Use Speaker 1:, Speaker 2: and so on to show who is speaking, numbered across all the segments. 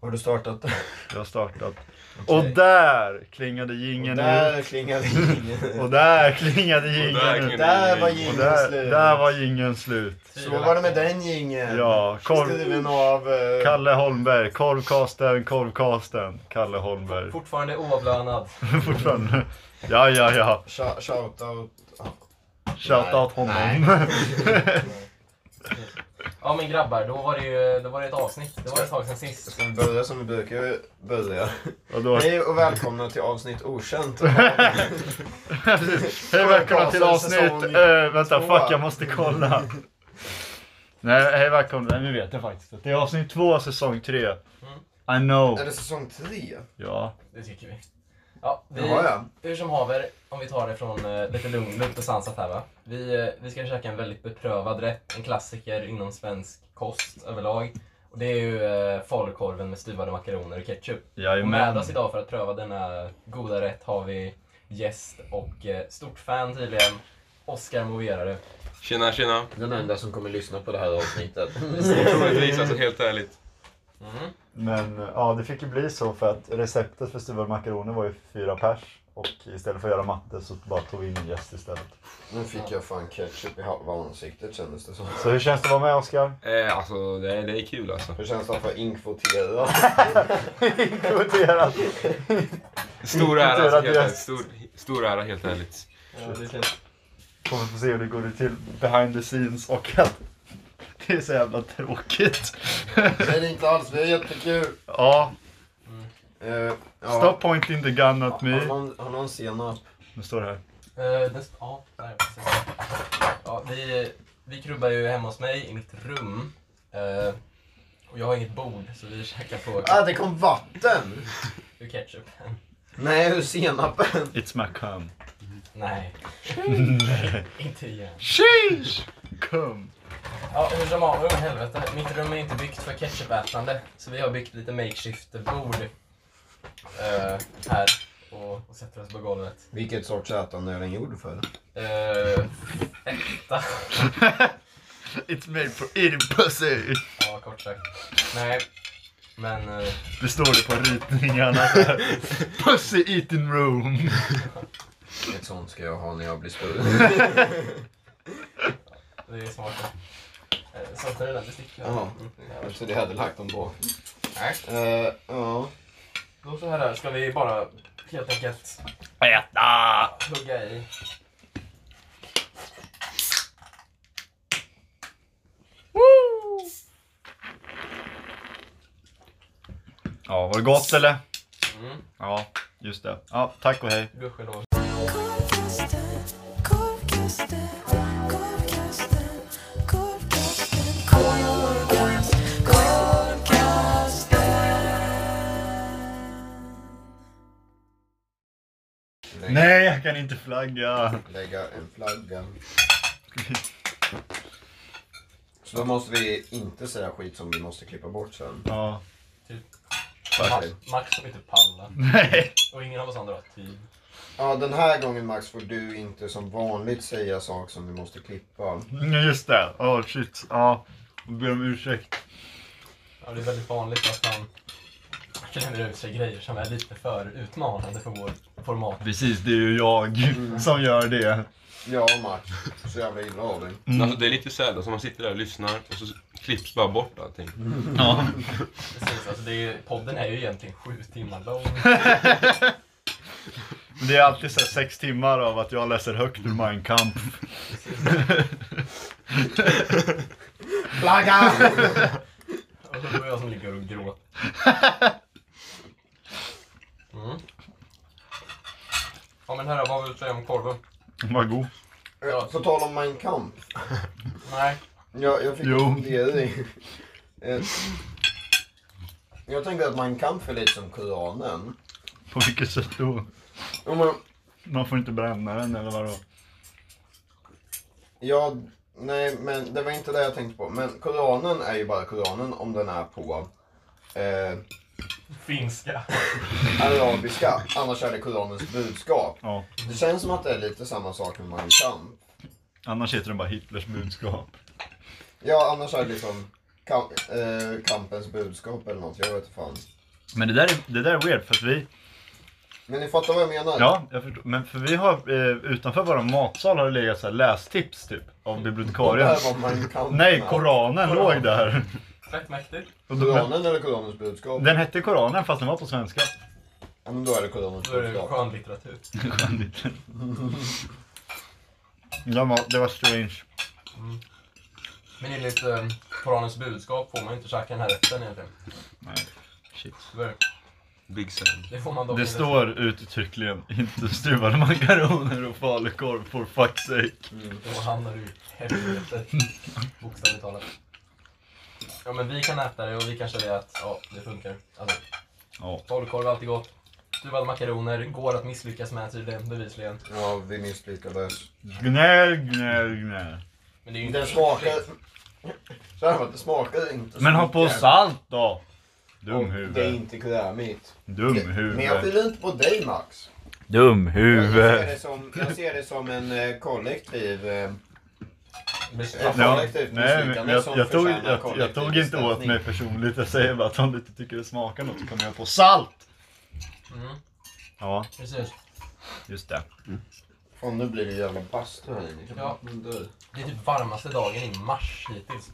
Speaker 1: Har du startat?
Speaker 2: Jag har startat. Och där klingade
Speaker 1: Och
Speaker 2: jingeln ut.
Speaker 1: där klingade ingen.
Speaker 2: Och där klingade jingeln
Speaker 3: klingade
Speaker 2: ut.
Speaker 1: där var
Speaker 2: Och
Speaker 1: jingeln
Speaker 2: där,
Speaker 1: slut.
Speaker 2: där var jingeln slut.
Speaker 1: Så var det med den jingeln.
Speaker 2: Ja, korv,
Speaker 1: Skriven av... eh,
Speaker 2: Kalle Holmberg. Korvkasten, korvkasten. Kalle Holmberg.
Speaker 3: Fortfarande oavlönad.
Speaker 2: Fortfarande. Ja, ja, ja.
Speaker 1: Shou- Shoutout.
Speaker 2: Shoutout
Speaker 1: Nej.
Speaker 2: honom.
Speaker 3: Ja men grabbar, då var det ju då var det ett avsnitt. Det var ett tag sen sist.
Speaker 1: Ska vi börja som vi brukar börja?
Speaker 2: Vadå?
Speaker 1: Hej och välkomna till avsnitt okänt.
Speaker 2: Hej välkomna till
Speaker 1: Korvkasten,
Speaker 2: avsnitt...
Speaker 1: säsong
Speaker 2: eh, vänta,
Speaker 1: två.
Speaker 2: fuck jag måste kolla. Nej, hej välkomna. Nu vet jag faktiskt. Det är avsnitt två, säsong tre. I know.
Speaker 1: Mm. Är det säsong tre?
Speaker 2: Ja.
Speaker 3: Det tycker vi. Ja, vi
Speaker 1: Jaha ja.
Speaker 3: hur som haver, om vi tar det från eh, lite lugn, lugnt och sansat här va. Vi, eh, vi ska käka en väldigt beprövad rätt, en klassiker inom svensk kost överlag. Och det är ju eh, falukorven med stuvade makaroner och ketchup. Och med
Speaker 2: Jajamän.
Speaker 3: oss idag för att pröva denna goda rätt har vi gäst och eh, stort fan tydligen, Oscar Moverare.
Speaker 4: Tjena, tjena.
Speaker 5: Den enda som kommer lyssna på det här avsnittet.
Speaker 4: Troligtvis, alltså helt ärligt.
Speaker 3: Mm.
Speaker 2: Men eh, ja, det fick ju bli så för att receptet för stuvade makaroner var ju fyra pers. Och istället för att göra matte så bara tog vi in en gäst istället.
Speaker 1: Nu fick jag fan ketchup i halva ansiktet kändes det som.
Speaker 2: Så hur känns det att vara med Oskar?
Speaker 4: Eh, alltså, det är, det är kul alltså.
Speaker 1: Hur känns det att vara inkvoterad?
Speaker 2: Kvoterat!
Speaker 4: Stor ära, alltså, helt
Speaker 2: Kulturad
Speaker 4: ärligt. Stor, stor ära, helt ärligt.
Speaker 2: Kommer få se hur det går till behind the scenes och att det är så jävla tråkigt.
Speaker 1: Nej det är inte alls, vi är jättekul.
Speaker 2: Ja,
Speaker 1: Uh, ja.
Speaker 2: stop pointing the gun at
Speaker 1: Har
Speaker 2: me.
Speaker 1: någon, har någon senap?
Speaker 2: Nu står det här.
Speaker 3: Eh, den, ja, där, precis. Ja, vi, vi krubbar ju hemma hos mig i mitt rum. Eh, och jag har inget bord så vi käkar på
Speaker 1: Ah det kom vatten!
Speaker 3: ur ketchupen.
Speaker 1: Nej ur senapen.
Speaker 2: It's my cum.
Speaker 3: Nej, inte igen.
Speaker 2: Sheesh! Cum.
Speaker 3: Ja, hur som haver, oh, helvete. Mitt rum är inte byggt för ketchupätande så vi har byggt lite makeshift-bord eh, här och, och sätter oss på golvet.
Speaker 1: Vilket sorts ätande är den gjord för?
Speaker 3: Eh, etta.
Speaker 2: It's made for eating pussy.
Speaker 3: Ja, kort sagt. Nej, men... eh,
Speaker 2: Det står det på ritningarna. pussy eating room.
Speaker 1: Ett sånt ska jag ha när jag blir större.
Speaker 3: Det är smart. Eh, Saknar du den? Det sticker.
Speaker 1: Jaha.
Speaker 3: Mm.
Speaker 1: Jag trodde jag hade lagt dem på.
Speaker 3: Nej.
Speaker 1: Eh, ja.
Speaker 3: Då så här ska vi bara helt enkelt
Speaker 2: Äta!
Speaker 3: hugga i.
Speaker 2: Ja, var det gott eller?
Speaker 3: Mm.
Speaker 2: Ja, just det. Ja, tack och hej.
Speaker 3: Gudskelov.
Speaker 6: Korvkasten, korvkasten, korvkasten, korvkasten, korvkast, korvkasten.
Speaker 1: Lägg,
Speaker 2: Nej, jag kan inte flagga.
Speaker 1: lägga en flagga. Så då måste vi inte säga skit som vi måste klippa bort sen.
Speaker 2: Ja.
Speaker 3: Typ.
Speaker 2: Fuck.
Speaker 3: Ma- Max som inte pallar.
Speaker 2: Nej.
Speaker 3: Och ingen av oss andra har tid.
Speaker 1: Ja, den här gången Max får du inte som vanligt säga saker som vi måste klippa.
Speaker 2: Nej, Just det. Åh, shit. Ja. Jag ber om ursäkt.
Speaker 3: Ja, det är väldigt vanligt att man klämmer ut sig grejer som är lite för utmanande för vårt format.
Speaker 2: Precis, det är ju jag som gör det.
Speaker 1: Ja, Max. Så jävla illa av dig.
Speaker 4: Men Alltså, det är lite sällan som man sitter där och lyssnar och så klipps bara bort allting.
Speaker 2: Ja.
Speaker 3: Precis, alltså det är, podden är ju egentligen sju timmar lång.
Speaker 2: Det är alltid så här sex timmar av att jag läser högt ur Mein Kampf.
Speaker 1: Flagga!
Speaker 3: Och så är det jag som ligger och gråter. Mm. Ja men herrar, vad vill du säga om korven?
Speaker 2: Vad god.
Speaker 1: Eh, På tal om Mein Kampf.
Speaker 3: Nej.
Speaker 1: Jag, jag fick
Speaker 2: Jo.
Speaker 1: en fundering. Eh, Jag tänker att Mein Kampf är lite som Koranen.
Speaker 2: På vilket sätt då?
Speaker 1: Om man,
Speaker 2: Man får inte bränna den eller vadå?
Speaker 1: ja, nej, men det var inte det jag tänkte på. Men Koranen är ju bara Koranen om den är på eh,
Speaker 3: Finska.
Speaker 1: arabiska. Annars är det Koranens budskap.
Speaker 2: Ja.
Speaker 1: Det känns som att det är lite samma sak med Mein Kampf.
Speaker 2: Annars heter den bara Hitlers budskap.
Speaker 1: Ja, annars är det liksom Kam, eh, kampens budskap eller något, jag vet inte fan.
Speaker 2: Men det där är, det där är weird för att vi,
Speaker 1: Men ni fattar vad jag menar?
Speaker 2: ja, jag förstår, men för vi har eh, utanför våra matsal har det legat så här lästips typ av
Speaker 1: Det
Speaker 2: bibliotekarien.
Speaker 1: här var man kan.
Speaker 2: Nej, Koranen
Speaker 3: Koran.
Speaker 2: låg där.
Speaker 3: Fett mäktigt.
Speaker 2: Och då-
Speaker 1: Koranen eller Koranens budskap?
Speaker 2: Den hette Koranen fast den var på svenska.
Speaker 1: Ja, men då är det Koranens
Speaker 3: Då är det
Speaker 1: budskap.
Speaker 3: skönlitteratur.
Speaker 2: Den var, det var strange.
Speaker 3: Men enligt eh, Koranens budskap får man ju inte käka den här rätten egentligen.
Speaker 2: Nej, shit.
Speaker 3: Tyvärr.
Speaker 4: Big Sam.
Speaker 3: Det får man dock
Speaker 2: Det
Speaker 3: inte.
Speaker 2: står uttryckligen inte stuvade makaroner och falukorv for fuck's sake.
Speaker 3: Då hamnar du i helvetet. Bokstavligt talat. Ja men vi kan äta det och vi kan säga att ja, det funkar. Alltså,
Speaker 2: Ja.
Speaker 3: falukorv är alltid gott. Stuvade makaroner går att misslyckas med tydligen, bevisligen.
Speaker 1: Ja, vi misslyckades.
Speaker 2: Gnäll, gnäll, gnäll.
Speaker 3: Men det är ju
Speaker 1: Den
Speaker 3: inte
Speaker 1: smakar... Så här, det smakar inte så
Speaker 2: Men ha på
Speaker 1: mycket.
Speaker 2: salt då!
Speaker 1: Och Det är
Speaker 2: Dumhuvud.
Speaker 1: inte krämigt. Men jag
Speaker 2: Dumhuvud.
Speaker 1: skyller inte på dig Max. Jag ser
Speaker 2: Dumhuvud.
Speaker 1: det som, jag ser det som en eh, kollektiv... Eh,
Speaker 3: bestraffning.
Speaker 2: Ja,
Speaker 1: kollektivt
Speaker 2: nej, men
Speaker 1: misslyckande
Speaker 2: jag,
Speaker 1: som
Speaker 2: jag, tog,
Speaker 1: förtjänar
Speaker 2: jag, jag
Speaker 1: kollektiv
Speaker 2: tog inte åt
Speaker 1: bestraffning.
Speaker 2: mig personligt. Jag säger bara att om du inte tycker det smakar något så kommer jag på salt!
Speaker 3: Mm,
Speaker 2: Ja,
Speaker 3: precis.
Speaker 2: just det.
Speaker 1: Fan, nu blir det jävla bastu här inne.
Speaker 3: Ja.
Speaker 1: Men du-
Speaker 3: Det är typ varmaste dagen i mars hittills.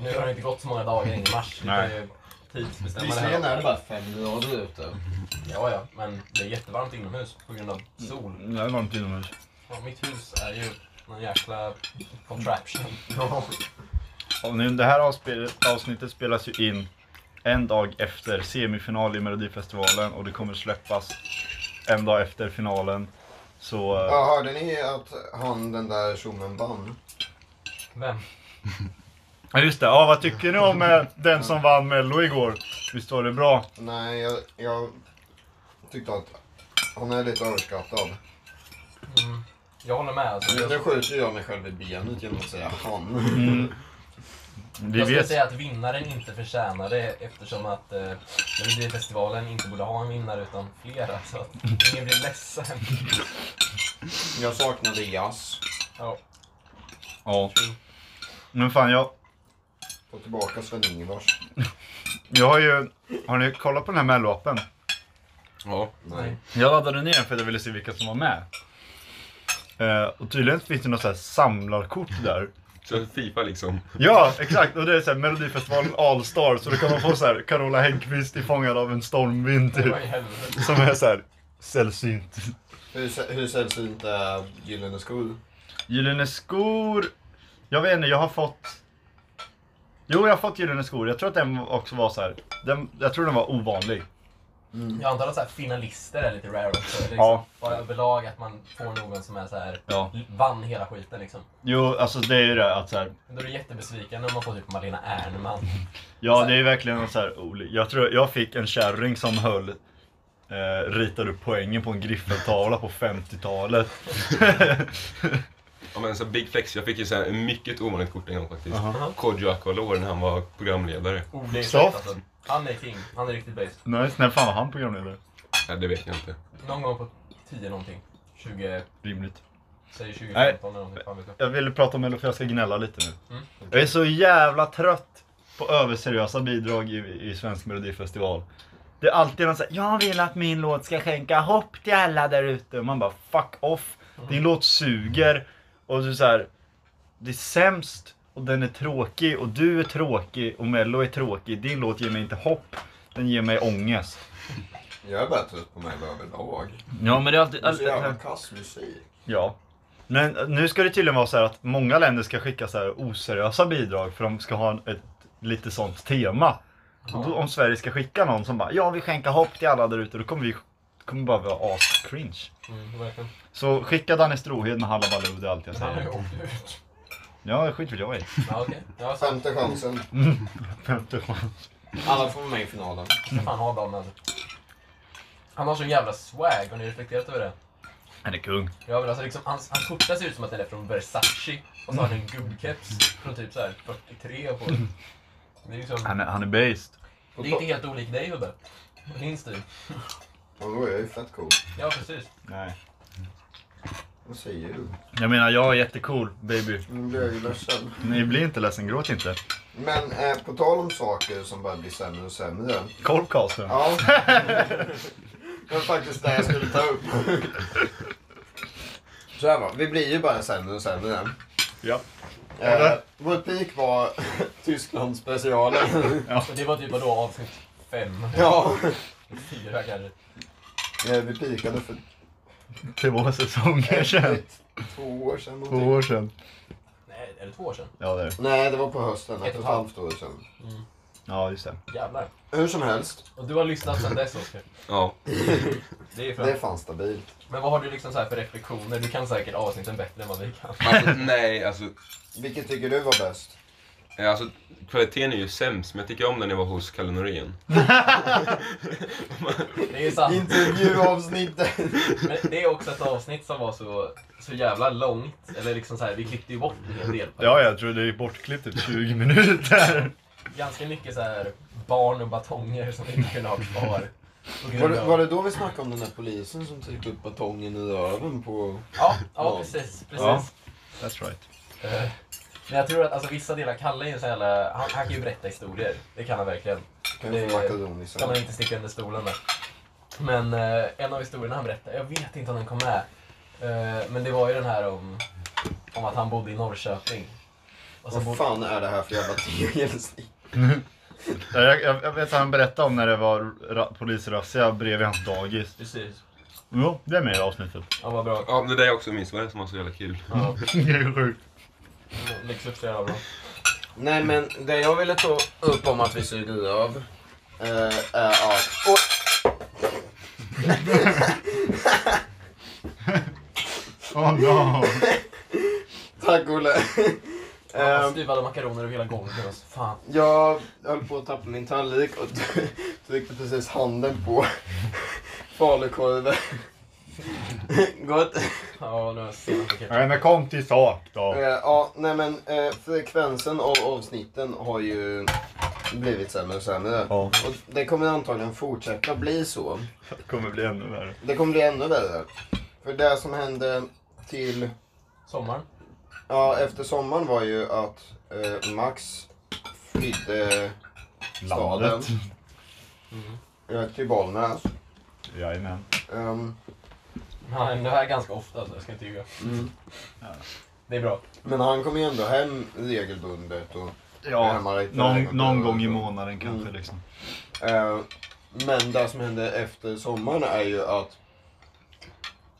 Speaker 3: Nu har det inte gått så många dagar in i mars. Vi kan
Speaker 2: Nej.
Speaker 3: ju tidsbestämma det
Speaker 1: Visserligen
Speaker 3: här.
Speaker 1: är det bara fem grader ute.
Speaker 3: Ja, ja, men det är jättevarmt inomhus på grund av sol.
Speaker 2: Det är varmt inomhus.
Speaker 3: Ja, mitt hus är ju någon jäkla contraption. Ja.
Speaker 2: Och nu, det här avspel- avsnittet spelas ju in en dag efter semifinal i Melodifestivalen och det kommer släppas en dag efter finalen. Så eh,
Speaker 1: Ja, hörde ni att han den där tjommen vann?
Speaker 3: Vem?
Speaker 2: Ja just det, ja, vad tycker ni om eh, den som vann mello igår? Visst var det bra?
Speaker 1: Nej, jag, jag tyckte att han är lite överskattad.
Speaker 3: Mm. Jag håller med. Alltså.
Speaker 1: Nu
Speaker 3: Jag,
Speaker 1: skjuter jag mig själv i benet genom att säga han.
Speaker 2: Vi
Speaker 3: jag skulle
Speaker 2: vet.
Speaker 3: säga att vinnaren inte förtjänar det eftersom att eh, Melodifestivalen inte borde ha en vinnare utan flera. Så att ingen blir ledsen.
Speaker 1: Jag saknade jazz.
Speaker 3: Ja.
Speaker 2: Ja. Men fan jag,
Speaker 1: Få tillbaka Sven-Ingvars.
Speaker 2: jag har ju... Har ni kollat på den här mello-appen?
Speaker 4: Ja.
Speaker 1: Nej.
Speaker 2: Jag laddade ner den för att jag ville se vilka som var med. Eh, och tydligen finns det något så här samlarkort där.
Speaker 4: Så Fifa liksom.
Speaker 2: Ja, exakt! Och det är så här Melodifestivalen All-Star, så då kan man få så här Carola Häggkvist i fångad av en stormvind typ.
Speaker 3: Vad i helvete?
Speaker 2: Som är så här sällsynt.
Speaker 1: Hur, sä- hur sällsynt är Gyllene skor?
Speaker 2: Gyllene skor. Jag vet inte, jag har fått... Jo, jag har fått Gyllene skor. Jag tror att den också var så här. Den, jag tror den var ovanlig.
Speaker 3: Jag antar att så här, finalister är lite rare också. Liksom.
Speaker 2: Ja.
Speaker 3: Bara överlag att man får någon som är så här,
Speaker 2: Ja.
Speaker 3: vann hela skiten liksom.
Speaker 2: Jo, alltså det är ju det att så här.
Speaker 3: Men Då är det jättebesvikande om man får typ Malena Ernman.
Speaker 2: Ja, det är verkligen så här oli- Jag tror jag fick en kärring som höll eh, ritade upp poängen på en griffeltavla på 50-talet.
Speaker 4: Ja, men så Big Flex, jag fick ju så här mycket ovanligt kort en gång faktiskt.
Speaker 2: Aha.
Speaker 4: Kodjo Akolor när han var programledare.
Speaker 3: Oh, det är
Speaker 2: Soft.
Speaker 3: fett, alltså. Han är king. Han är riktigt base.
Speaker 2: Nice. När fan var han programledare?
Speaker 4: Nej, det vet jag inte.
Speaker 3: Någon gång på 10 någonting. 20,
Speaker 2: Rimligt.
Speaker 3: säg 2015
Speaker 2: Nej.
Speaker 3: eller någonting. Fan vet jag.
Speaker 2: Jag ville prata om Mello för jag ska gnälla lite nu.
Speaker 3: Mm.
Speaker 2: Jag är så jävla trött på överseriösa bidrag i, i Svensk Melodifestival. Det är alltid någon såhär, jag vill att min låt ska skänka hopp till alla där ute. Och man bara, fuck off. Din låt suger. Och du såhär, det är sämst. Och den är tråkig. Och du är tråkig. Och Mello är tråkig. Din låt ger mig inte hopp. Den ger mig ångest.
Speaker 1: Jag är bara trött på mig överlag.
Speaker 2: Ja men det är alltid... alltså-
Speaker 1: Det är så jävla kass musik.
Speaker 2: Ja. Men nu ska det tydligen vara så här att många länder ska skicka så här oseriösa bidrag för de ska ha en- ett lite sånt tema. Och då, om Sverige ska skicka någon som bara ja vi skänker hopp till alla där ute då kommer vi kommer bara vara as-cringe.
Speaker 3: Mm, verkligen.
Speaker 2: Så skicka Danny Strohed med Hallabaloo, det är allt jag
Speaker 3: Men han har ju
Speaker 2: säger.
Speaker 3: åkt ut.
Speaker 2: Ja, skit väl jag i.
Speaker 3: Ja, okej. Ja, så
Speaker 1: Femte chansen.
Speaker 2: Femte chans.
Speaker 1: Alla får vara med i finalen.
Speaker 3: ska fan ha dem alltså. Han har sån jävla swag. Har ni reflekterat över det?
Speaker 2: Han är kung.
Speaker 3: Ja, men alltså, liksom, hans, hans skjorta ser ut som att den är från Versace. Och så har han en gubbkeps från typ så här 43 på den. Det är liksom...
Speaker 2: Han är, han är based.
Speaker 3: Det är inte helt olik dig gubbe. Och Din stil.
Speaker 1: Ja, då är jag ju fett cool.
Speaker 3: Ja, precis.
Speaker 2: Nej.
Speaker 1: Vad säger du?
Speaker 2: Jag menar jag är jättecool baby.
Speaker 1: Nu blir jag ju ledsen.
Speaker 2: Ni blir inte ledsen, gråt inte.
Speaker 1: Men eh, på tal om saker som börjar bli sämre och sämre.
Speaker 2: Korvcast nu.
Speaker 1: Ja. Det var faktiskt det jag skulle ta upp. Så här va, vi blir ju bara sämre och sämre.
Speaker 2: Ja.
Speaker 1: Eh, vår peak var Tysklandsspecialen.
Speaker 3: Och det var typ vadå, avsnitt fem,
Speaker 1: ja.
Speaker 3: fyra kanske?
Speaker 1: Eh, vi peakade för
Speaker 2: Två säsonger sedan.
Speaker 1: ett, två år sedan.
Speaker 2: Två
Speaker 1: någonting.
Speaker 2: år sedan.
Speaker 3: Nej, är det två år sedan?
Speaker 2: Ja, det är det.
Speaker 1: Nej, det var på hösten.
Speaker 3: Ett
Speaker 1: Ett och ett halvt år sedan.
Speaker 2: Ja, just det.
Speaker 3: Jävlar.
Speaker 1: Hur som helst,
Speaker 3: Och du har lyssnat sedan dess Oskar.
Speaker 4: Ja.
Speaker 3: Det är ju
Speaker 1: det är
Speaker 3: skönt.
Speaker 1: fan stabilt.
Speaker 3: Men vad har du liksom så här för reflektioner? Du kan säkert avsnitten bättre än vad vi kan.
Speaker 4: Alltså, nej, alltså,
Speaker 1: Vilket tycker du var bäst?
Speaker 4: eh, alltså kvaliteten är ju sämst, men jag tycker om när ni var hos Kalle Norén.
Speaker 3: Det är ju sant.
Speaker 1: Intervjuavsnittet!
Speaker 3: Men det är också ett avsnitt som var så, så jävla långt. Eller liksom så här, vi klippte ju bort en hel del.
Speaker 2: Ja, jag tror det är bortklippt typ 20 minuter.
Speaker 3: Ganska mycket så här barn och batonger som vi inte kunde ha kvar. på grund
Speaker 1: Var det,
Speaker 3: av-
Speaker 1: var det då vi snackade om den där polisen som tryckte upp batongen i röven på...
Speaker 3: Ja, ja precis. precis.
Speaker 2: Ja. That's right.
Speaker 3: Eh, Men jag tror att alltså, vissa delar, Kalle är ju så jävla, han, han kan ju berätta historier. Det kan han verkligen.
Speaker 1: Kan vi
Speaker 3: Det-
Speaker 1: få makaroni sen?
Speaker 3: Ska man inte sticka under stolen med. Men eh, en av historierna han berättade, jag vet inte om den kom med. Eh, men det var ju den här om, om att han bodde i Norrköping. Och så
Speaker 1: Vad
Speaker 3: bodde,
Speaker 1: fan är det här för jävla tegelsnitt?
Speaker 2: Ja, Jag, jag, jag vet att han berättade om när det var ra- polisrazzia bredvid hans dagis.
Speaker 3: precis.
Speaker 2: Jo, det är med i avsnittet.
Speaker 3: Ja, vad bra.
Speaker 4: Ja, det där jag också minns var det som var så jävla kul.
Speaker 3: Ja,
Speaker 2: Det är sjukt.
Speaker 3: Lyx upp så jävla bra.
Speaker 5: Nej men det jag ville ta upp om att vi suger röv.
Speaker 1: Eh, eh, ja. Och,
Speaker 2: Oh no!
Speaker 1: tack Olle!
Speaker 3: Han
Speaker 1: Ehm,
Speaker 3: stuvade makaroner över hela golvet. Alltså. Fan.
Speaker 1: jag höll på att tappa min tallrik och tryckte precis handen på falukorven. Gott.
Speaker 3: Ja, nu har jag senast okej.
Speaker 2: Nej men kom till sak
Speaker 1: Eh,
Speaker 2: då.
Speaker 1: Ja, nej men eh, frekvensen av avsnitten har ju blivit sämre och sämre.
Speaker 2: Ja,
Speaker 1: Och det kommer antagligen fortsätta bli så.
Speaker 2: det kommer bli ännu värre.
Speaker 1: Det kommer bli ännu värre. För det som hände till,
Speaker 3: Sommaren.
Speaker 1: ja efter sommaren var ju att eh, Max flydde staden.
Speaker 2: Landet.
Speaker 1: eh, till Bollnäs.
Speaker 2: Jajamän.
Speaker 1: Ehm,
Speaker 3: Han är här ganska ofta, så jag ska inte ljuga. Det är bra.
Speaker 1: mm. men han kom ju ändå hem regelbundet. Och,
Speaker 2: Ja,
Speaker 1: hemma lite
Speaker 2: någon,
Speaker 1: lägenhet.
Speaker 2: någon gång i månaden kanske
Speaker 1: Mm.
Speaker 2: liksom.
Speaker 1: Eh, men det som hände efter sommaren är ju att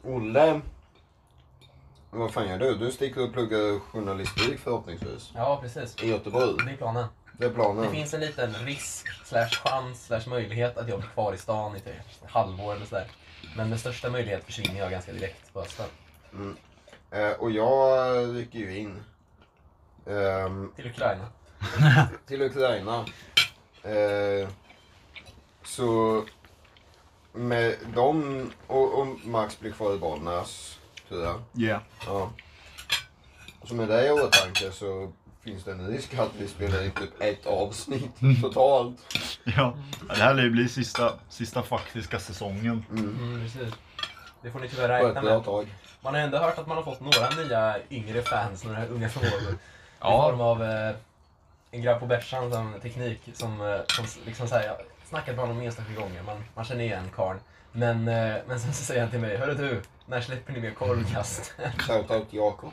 Speaker 1: Olle... Vad fan gör du? Du sticker och pluggar journalistik förhoppningsvis.
Speaker 3: Ja, precis.
Speaker 1: I Göteborg.
Speaker 3: Det är planen.
Speaker 1: Det är planen.
Speaker 3: Det finns en liten risk, slash chans, slash möjlighet att jag blir kvar i stan i typ ett halvår eller sådär. Men med största möjlighet försvinner jag ganska direkt på hösten.
Speaker 1: Eh, och jag rycker ju in. Ehm,
Speaker 3: Till Ukraina.
Speaker 1: till Ukraina. Eh, så med dem och, och Max blir kvar i Bollnäs, tror jag.
Speaker 2: Yeah.
Speaker 1: Ja. Så med det i åtanke så finns det en risk att vi spelar in typ ett avsnitt
Speaker 2: Mm.
Speaker 1: totalt.
Speaker 2: Ja. ja, det här lär ju bli sista, sista faktiska säsongen.
Speaker 3: Mm, precis. Det får ni tyvärr
Speaker 1: På ett
Speaker 3: räkna
Speaker 1: bra
Speaker 3: med.
Speaker 1: tag.
Speaker 3: Man har ändå hört att man har fått några nya yngre fans, några unga frågor.
Speaker 4: Ja.
Speaker 3: I form av eh, en grabb på bärsan som teknik som, eh, som s- liksom såhär, jag har snackat med honom enstaka gånger, man, man känner igen karln. Men, eh, men sen så säger han till mig, hörru du, när släpper ni mer korvkast?
Speaker 1: Shoutout till Jakob.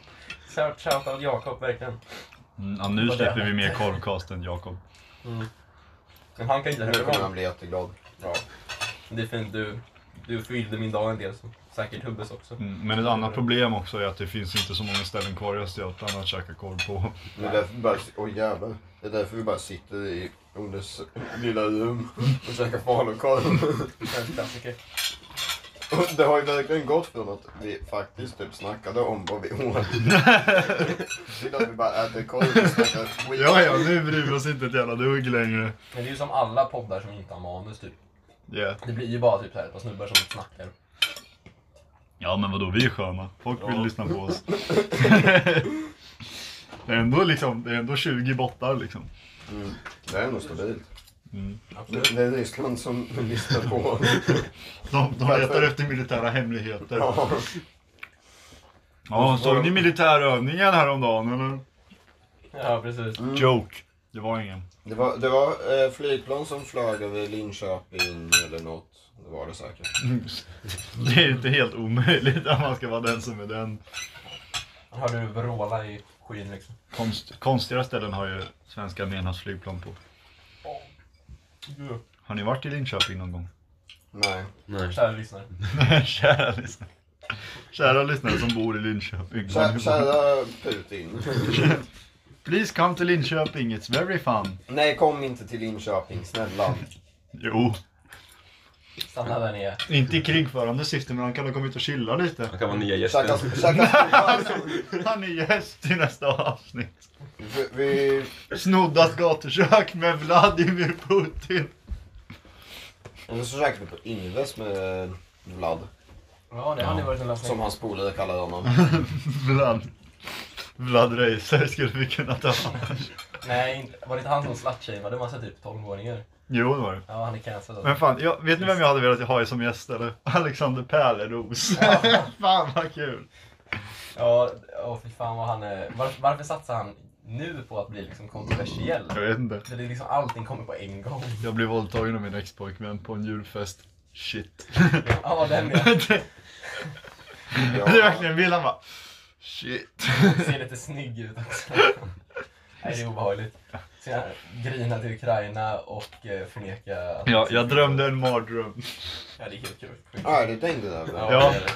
Speaker 3: Shout- Shoutout Jakob, verkligen.
Speaker 2: Mm, ja, nu
Speaker 3: Vad
Speaker 2: släpper
Speaker 3: det-
Speaker 2: vi mer korvkast än Jakob.
Speaker 3: Men han kan
Speaker 1: Nu
Speaker 3: inte höra
Speaker 1: kommer
Speaker 3: vad
Speaker 1: han bli jätteglad.
Speaker 3: Ja, det är fint. Du, du fyllde min dag en del, så säkert Hubbes också.
Speaker 2: Mm, men ett annat problem också är att det finns inte så många ställen kvar i Östergötland att käka korv på.
Speaker 1: Det är därför vi bara, åh jävlar. Det är därför vi bara sitter i Olles lilla rum och käkar falukorv.
Speaker 3: En klassiker.
Speaker 1: Och det har ju verkligen gått från att vi faktiskt typ snackade om vad vi åt. Till att vi bara äter korv och snackar skit.
Speaker 2: Ja, ja, nu bryr vi oss inte ett jävla dugg längre.
Speaker 3: Men det är ju som alla poddar som inte har manus typ.
Speaker 2: Yeah.
Speaker 3: Det blir ju bara typ så här ett par snubbar som snackar.
Speaker 2: Ja, men vadå, vi är sköna. Folk vill
Speaker 3: Ja.
Speaker 2: lyssna på oss. det, är ändå liksom, det är ändå 20 bottar liksom.
Speaker 1: Mm. Det är nog stabilt.
Speaker 2: Mm.
Speaker 1: Det det är Ryssland som lyssnar på oss.
Speaker 2: De, de letar efter militära hemligheter.
Speaker 1: Ja.
Speaker 2: Ja, såg ni militärövningen häromdagen eller?
Speaker 3: Ja, precis.
Speaker 2: Joke. Det var ingen.
Speaker 1: Det var, det var eh, flygplan som flög över Linköping eller något. Det var det säkert.
Speaker 2: Det är inte helt omöjligt att man ska vara den som är den.
Speaker 3: Hör du vråla i skyn liksom.
Speaker 2: Konst, konstiga ställen har ju svenska armén haft flygplan på. Har ni varit i Linköping någon gång?
Speaker 1: Nej.
Speaker 4: Nej.
Speaker 3: Kära lyssnare.
Speaker 2: Kära lyssnare. Kära lyssnare som bor i Linköping.
Speaker 1: Kä- Kära Putin.
Speaker 2: Please come to Linköping, it's very fun.
Speaker 1: Nej, kom inte till Linköping, snälla.
Speaker 2: Jo,
Speaker 3: Stanna där nere.
Speaker 2: inte i krigförande syfte men han kan ha kommit och chilla lite.
Speaker 4: Han kan vara nya
Speaker 1: Käka,
Speaker 4: gästen.
Speaker 1: käka skolan.
Speaker 2: Han är gäst i nästa avsnitt.
Speaker 1: Vi- Vi...
Speaker 2: Snoddat gatukök med Vladimir Putin.
Speaker 1: Eller så käkade vi på Ingves med Vlad.
Speaker 3: Ja, det har ni varit en lösning.
Speaker 1: Som hans polare kallade honom.
Speaker 2: Vlad. Vlad Reiser skulle vi kunna ta.
Speaker 3: Nej, inte- var det inte han som slutshameade massa typ 12-åringar?
Speaker 2: Jo, det var det.
Speaker 3: Ja, han är cancelled.
Speaker 2: Men
Speaker 3: alltså.
Speaker 2: fan, jag, vet ni vem jag hade velat ha som gäst eller? Alexander Pärleros. fan vad kul.
Speaker 3: Ja, åh fy fan vad han är. Var, varför satsar han nu på att bli liksom kontroversiell?
Speaker 2: Jag vet inte.
Speaker 3: För det är liksom allting kommer på en gång.
Speaker 2: Jag blev våldtagen av min ex-pojkvän på en julfest. Shit.
Speaker 3: Ja, den är.
Speaker 2: det,
Speaker 1: Ja.
Speaker 2: det är verkligen vill han bara. Shit.
Speaker 3: Ser lite snygg ut också. Nej, det är obehagligt. Så jag grina till Ukraina och eh, förneka att...
Speaker 2: Ja, jag drömde en mardröm.
Speaker 3: Ja, det är helt kul.
Speaker 1: Ja, det tänkte jag över.
Speaker 2: Ja.
Speaker 3: det är det.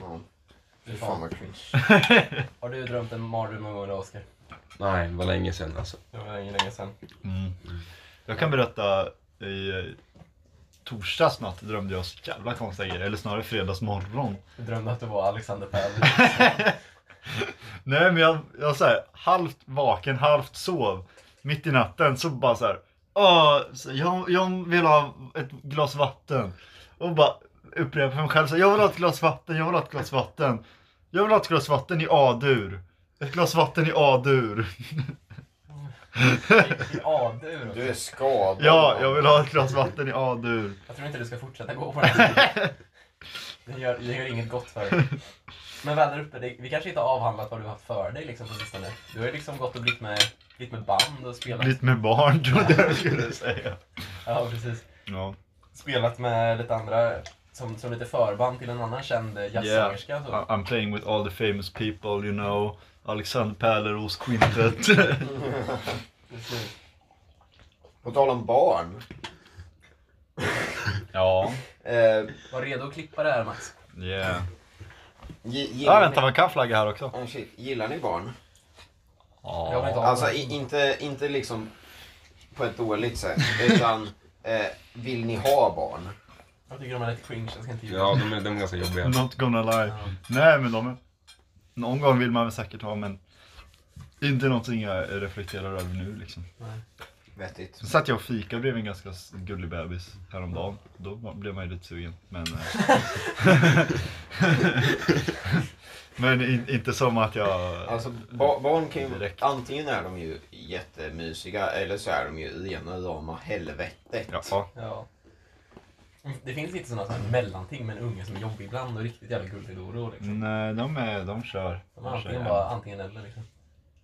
Speaker 1: Ja.
Speaker 3: Fy
Speaker 1: Fan
Speaker 3: fan.
Speaker 1: vad cringe.
Speaker 3: Har du drömt en mardröm någon gång då, Oskar?
Speaker 4: Nej, det var länge sedan alltså.
Speaker 3: Det var länge, länge sedan.
Speaker 2: Mm. Jag kan berätta i eh, torsdags natt drömde jag så jävla konstiga grejer. Eller snarare fredags morgon.
Speaker 3: Du drömde att du var Alexander Pell.
Speaker 2: Nej men jag, jag så här, halvt vaken, halvt sov. Mitt i natten så bara så här. "Åh, så jag, jag vill ha ett glas vatten. Och bara upprepar för mig själv så här, jag vill ha ett glas vatten, jag vill ha ett glas vatten. Jag vill ha ett glas vatten i A-dur. Ett glas vatten i A-dur.
Speaker 3: I A-dur. också.
Speaker 1: Du är skadad.
Speaker 2: Ja, jag vill ha ett glas vatten i A-dur.
Speaker 3: Jag tror inte du ska fortsätta gå på den här stilen. Den gör, den gör inget gott för dig. Men väl där uppe, det, vi kanske inte har avhandlat vad du har haft för dig liksom på sistone. Du har ju liksom gått och blivit med, blivit med band och spelat.
Speaker 2: Lite med barn trodde jag skulle säga.
Speaker 3: Ja, precis.
Speaker 2: Ja.
Speaker 3: Spelat med lite andra, som, som lite förband till en annan känd eh, jazzsångerska.
Speaker 2: I-
Speaker 3: Så.
Speaker 2: I'm playing with all the famous people you know. Alexander Pärleros Quintet.
Speaker 3: Precis.
Speaker 1: På tal om barn.
Speaker 2: ja.
Speaker 1: Eh,
Speaker 3: Var redo att klippa det här Max.
Speaker 2: Yeah.
Speaker 1: gi-
Speaker 2: Ja,
Speaker 1: gillar
Speaker 2: vänta, man kan flagga här också.
Speaker 1: Ni, oh shit, gillar ni barn?
Speaker 3: Jag vill inte ha
Speaker 1: Alltså
Speaker 3: någon.
Speaker 1: i, inte, inte liksom på ett dåligt sätt. Utan eh, vill ni ha barn?
Speaker 3: Jag tycker de är lite cringe, jag ska inte ljuga.
Speaker 4: Ja, de är, de är ganska jobbiga.
Speaker 2: Not gonna lie. Nej, men de är... Någon gång vill man väl säkert ha, men... Inte någonting jag reflekterar över nu liksom.
Speaker 1: Vettigt.
Speaker 2: Sen satt jag och fika bredvid en ganska s- gullig bebis häromdagen. Då var- blev man ju lite sugen. Men, eh. men in, inte som att jag...
Speaker 1: Alltså ba- barn kan ju,
Speaker 2: Direkt.
Speaker 1: antingen är de ju jättemysiga eller så är de ju rena rama helvetet.
Speaker 2: Ja.
Speaker 3: Ja. Mm, Det finns inte sådana här mellanting med en unge som är jobbig ibland och riktigt jävla gullig då och då.
Speaker 2: Mm.
Speaker 3: Liksom.
Speaker 2: Nej, de, är, de kör.
Speaker 3: De är antingen
Speaker 2: kör
Speaker 3: bara antingen eller liksom.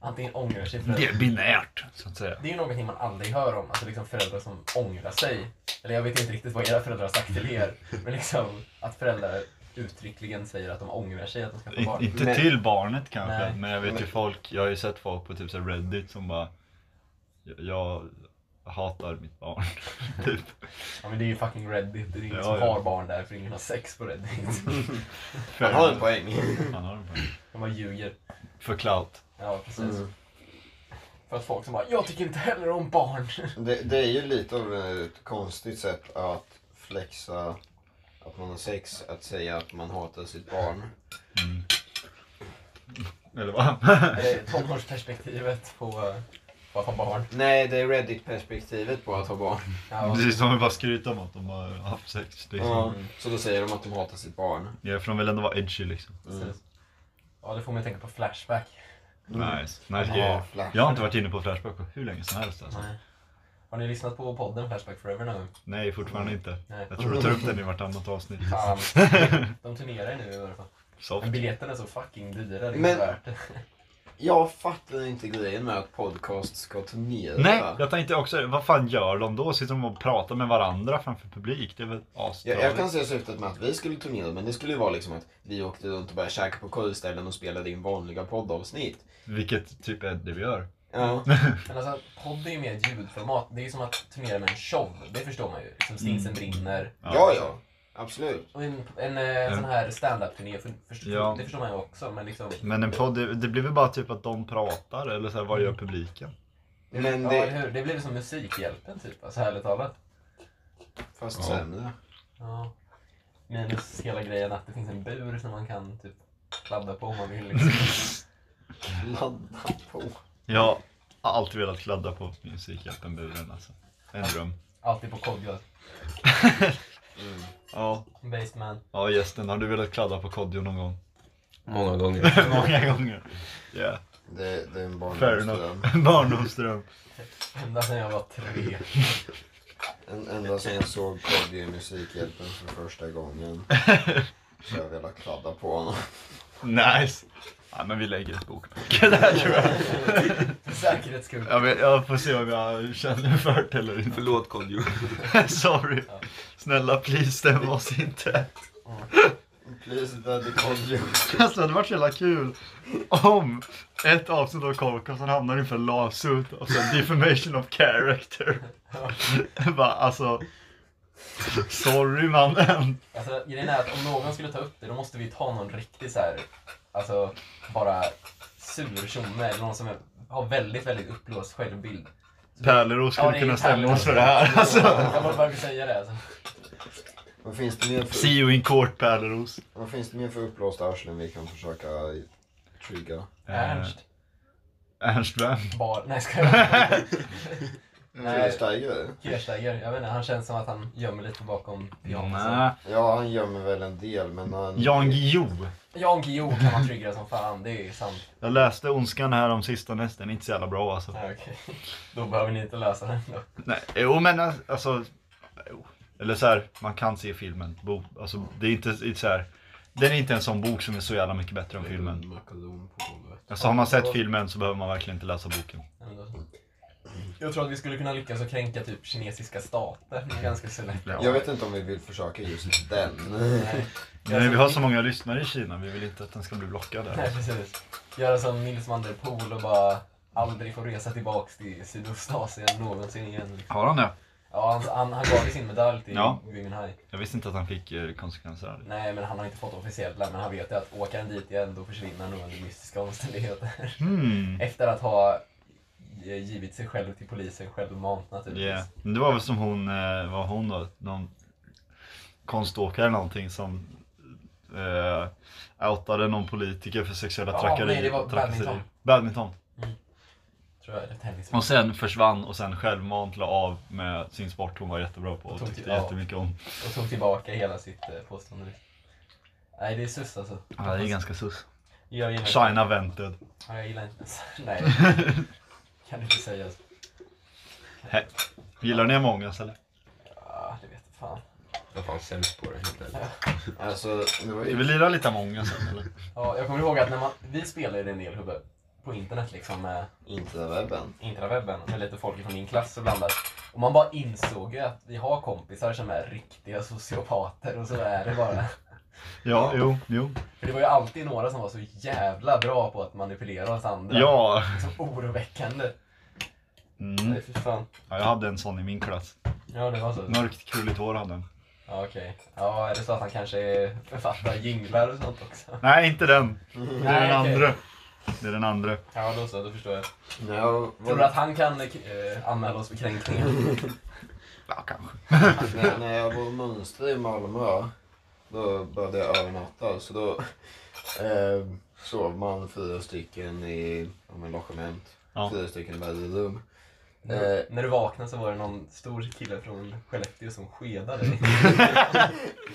Speaker 3: Antingen ångrar sig
Speaker 2: Det
Speaker 3: föräldrar.
Speaker 2: är binärt, så att säga.
Speaker 3: Det är ju någonting man aldrig hör om, alltså liksom föräldrar som ångrar sig. Eller jag vet inte riktigt vad era föräldrar har sagt till er. Men liksom att föräldrar uttryckligen säger att de ångrar sig att de skaffar
Speaker 2: In,
Speaker 3: barn.
Speaker 2: inte
Speaker 1: Men-
Speaker 2: till barnet kanske,
Speaker 3: Nej.
Speaker 2: men jag vet ju
Speaker 1: Men-
Speaker 2: folk, jag har ju sett folk på typ så här Reddit som bara "Jag- Jag hatar mitt barn, typ.
Speaker 3: Ja men det är ju fucking Reddit, det är ingen
Speaker 2: Ja,
Speaker 3: som
Speaker 2: ja.
Speaker 3: har barn där för ingen har sex på Reddit.
Speaker 1: Han har en poäng.
Speaker 2: Han har en poäng.
Speaker 3: De bara ljuger.
Speaker 2: För clout.
Speaker 3: Ja precis.
Speaker 1: Mm.
Speaker 3: För att folk som bara, jag tycker inte heller om barn.
Speaker 1: Det, det är ju lite av ett konstigt sätt att flexa att man har sex, att säga att man hatar sitt barn.
Speaker 2: Eller vad?
Speaker 3: Det är tonårsperspektivet på, eh, på att ha barn.
Speaker 1: Nej, det är Reddit-perspektivet på att ha barn.
Speaker 3: Ja,
Speaker 2: Precis som vi bara skryter om att de har haft sex. Liksom.
Speaker 1: Ja, så då säger de att de hatar sitt barn.
Speaker 2: Ja, för de vill ändå vara edgy liksom.
Speaker 3: precis. Ja det får mig att tänka på Flashback.
Speaker 2: Nice. nice
Speaker 1: Mm. Ja,
Speaker 2: grejer.
Speaker 1: Flashback.
Speaker 2: Jag har inte varit inne på Flashback på hur länge som helst alltså.
Speaker 3: Nej. Har ni lyssnat på podden Flashback Forever nu?
Speaker 2: Nej, fortfarande inte.
Speaker 3: Nej.
Speaker 2: Jag tror du tar upp den i vartannat avsnitt.
Speaker 3: Fan. De turnerar ju nu i alla fall.
Speaker 2: Soft.
Speaker 3: Men biljetterna är så fucking dyra. Det är
Speaker 1: Men-
Speaker 3: inte värt det.
Speaker 1: jag fattar inte grejen med att podcast ska turnera.
Speaker 2: Nej, jag tänkte också vad fan gör de då? Sitter de och pratar med varandra framför publik? Det är väl
Speaker 1: Jag, jag
Speaker 2: astråligt.
Speaker 1: kan se syftet med att vi skulle turnera, men det skulle ju vara liksom att vi åkte runt och började käka på korvställen och spelade in vanliga poddavsnitt.
Speaker 2: Vilket typ är det vi gör.
Speaker 1: Ja,
Speaker 2: Mm.
Speaker 3: Men alltså, podd är ju mer ett ljudformat. Det är ju som att turnera med en show. Det förstår man ju. Som Stinsen brinner.
Speaker 1: ja, ja absolut.
Speaker 3: Och en, en, eh, sån här standup-turné, för, för,
Speaker 2: Ja.
Speaker 3: det förstår man ju också. Men liksom,
Speaker 2: Men en podd, det, det blir väl bara typ att de pratar eller så här, vad gör publiken?
Speaker 1: Men
Speaker 3: ja,
Speaker 1: det,
Speaker 3: eller hur? Det blir som Musikhjälpen typ, alltså härligt talat.
Speaker 1: fast
Speaker 2: Ja.
Speaker 1: sämre.
Speaker 3: Ja. Minus hela grejen att det finns en bur som man kan typ kladda på om man vill. Liksom.
Speaker 1: Ladda på.
Speaker 2: Jag har alltid velat kladda på Musikhjälpen-buren alltså. En dröm.
Speaker 3: Alltid på Kodjo.
Speaker 2: Ja,
Speaker 3: Baseman.
Speaker 2: ja gästen, har du velat kladda på Kodjo någon gång?
Speaker 4: Många gånger.
Speaker 2: Många gånger. Yeah.
Speaker 1: Det, det är en
Speaker 2: Fair enough.
Speaker 1: barndomsdröm.
Speaker 2: Barndomsdröm.
Speaker 3: Ända sedan jag var tre.
Speaker 1: En- Ända sedan jag såg Kodjo i Musikhjälpen för första gången. Så jag velat kladda på honom.
Speaker 2: Nice. Ja, men vi lägger ett bokmärke där tror jag.
Speaker 3: För säkerhets skull.
Speaker 2: Jag, vet, jag får se om jag känner för det eller inte.
Speaker 4: Förlåt Kodjo.
Speaker 2: Sorry. Snälla please stäm oss inte.
Speaker 1: Please daddy Kodjo.
Speaker 2: Alltså det hade varit så jävla kul om ett avsnitt av Korkasen hamnar inför lawsuit och sen defamation of character. Bara, alltså, sorry mannen.
Speaker 3: Alltså, grejen är att om någon skulle ta upp det, då måste vi ta någon riktig så här, alltså bara sur tjomme eller någon som är, har väldigt, väldigt uppblåst självbild.
Speaker 2: Pärleros skulle
Speaker 3: Ja, det är
Speaker 2: kunna
Speaker 3: Pärleros.
Speaker 2: stämma oss för det här. Alltså.
Speaker 3: Jag bara började säga det alltså.
Speaker 1: Vad finns det mer för,
Speaker 2: See you in court Pärleros.
Speaker 1: vad finns det mer för uppblåsta arslen vi kan försöka trigga?
Speaker 3: Ernst.
Speaker 2: Eh, Ernst vem?
Speaker 3: Bar... Nej, ska jag
Speaker 1: Fredrik
Speaker 3: Nej,
Speaker 1: Steiger?
Speaker 3: Kirchsteiger. Jag vet inte, han känns som att han gömmer lite bakom liksom. pyjamasen.
Speaker 2: Nej.
Speaker 1: Ja, han gömmer väl en del, men han...
Speaker 2: Jan Guillou.
Speaker 3: Jan Guillou kan man trygga som fan, det är ju sant.
Speaker 2: Jag läste Ondskan här om sistone, den är inte så jävla bra alltså.
Speaker 3: Ja, okej. Då behöver ni inte lösa den då.
Speaker 2: Nej, jo men alltså- alltså... Jo. Eller så här, man kan se filmen. Bo, alltså, det är inte inte så här, Den är inte en sån bok som är så jävla mycket bättre än filmen.
Speaker 5: Makaron på golvet.
Speaker 2: Alltså har man sett filmen så behöver man verkligen inte läsa boken.
Speaker 3: Ja, men då- Jag tror att vi skulle kunna lyckas att kränka typ kinesiska stater ganska så lätt.
Speaker 1: Jag vet inte om vi vill försöka just den.
Speaker 3: Nej.
Speaker 2: Nej, vi har så många lyssnare i Kina, vi vill inte att den ska bli blockad
Speaker 3: Nej,
Speaker 2: där.
Speaker 3: precis. Göra som Nils van der Poel och bara aldrig få resa tillbaks till Sydostasien någonsin igen. liksom.
Speaker 2: Har han det?
Speaker 3: Ja, han, han, han gav ju sin medalj till
Speaker 2: Ja.
Speaker 3: Gui Minhai.
Speaker 2: Jag visste inte att han fick eh, konsekvenser av det.
Speaker 3: Nej, men han har inte fått officiellt men han vet ju att åker han dit igen då försvinner han nog under mystiska omständigheter.
Speaker 2: Hmm.
Speaker 3: Efter att ha eh, givit sig själv till polisen självmant naturligtvis.
Speaker 2: Yeah. Men Det var väl som hon, eh, var hon då, någon konståkare eller någonting som eh, outade någon politiker för sexuella
Speaker 3: Ja,
Speaker 2: trakasserier.
Speaker 3: nej, det var
Speaker 2: trakasserier.
Speaker 3: badminton.
Speaker 2: Badminton.
Speaker 3: Tror jag, eller tennis.
Speaker 2: Och sen försvann och sen självmant la av med sin sport hon var jättebra på och
Speaker 3: Tog
Speaker 2: tyckte
Speaker 3: till- ja.
Speaker 2: jättemycket om.
Speaker 3: Och tog tillbaka hela sitt eh, påstående. Nej, det är sus alltså.
Speaker 2: Ja, det är ganska sus.
Speaker 3: Jag gillar inte.
Speaker 2: China vented.
Speaker 3: Ja, jag gillar inte. Nej. Kan du inte säga. så.
Speaker 2: Gillar ni Amongas eller?
Speaker 3: Ja, Ah, det vet jag fan.
Speaker 4: Jag är fan sämst på det helt ärligt.
Speaker 1: Alltså, det var
Speaker 2: Vi
Speaker 1: ju...
Speaker 2: vill lira lite Amongas sen eller?
Speaker 3: Ja, jag kommer ihåg att när man, vi spelade ju en del hubbe på internet liksom med
Speaker 1: Inte webben.
Speaker 3: intrawebben med lite folk från min klass och blandat. Och man bara insåg ju att vi har kompisar som är riktiga sociopater och så är det bara.
Speaker 2: Ja, jo, jo.
Speaker 3: För det var ju alltid några som var så jävla bra på att manipulera oss andra.
Speaker 2: Ja.
Speaker 3: Så oroväckande.
Speaker 2: Mm.
Speaker 3: Nej, fy fan.
Speaker 2: ja! Jag hade en sån i min klass.
Speaker 3: Ja, det var så.
Speaker 2: Mörkt krulligt hår hade den.
Speaker 3: Ja, okej. Ja, är det så att han kanske är författar jinglar och sånt också?
Speaker 2: Nej, inte den. Det är
Speaker 3: Nej,
Speaker 2: den
Speaker 3: okej.
Speaker 2: andra. Det är den andra.
Speaker 3: Ja, då så. Då förstår jag.
Speaker 1: När jag
Speaker 3: Tror du
Speaker 1: var,
Speaker 3: att han kan eh, anmäla oss för kränkningar?
Speaker 2: Mm. Ja, kanske.
Speaker 1: när, när jag var mönster i Malmö, då började jag övernatta. Så då eh, sov man fyra stycken i om en logement.
Speaker 2: Ja.
Speaker 1: Fyra stycken i varje rum.
Speaker 3: När du- Eh, när du vaknade så var det någon stor kille från Skellefteå som skedade dig.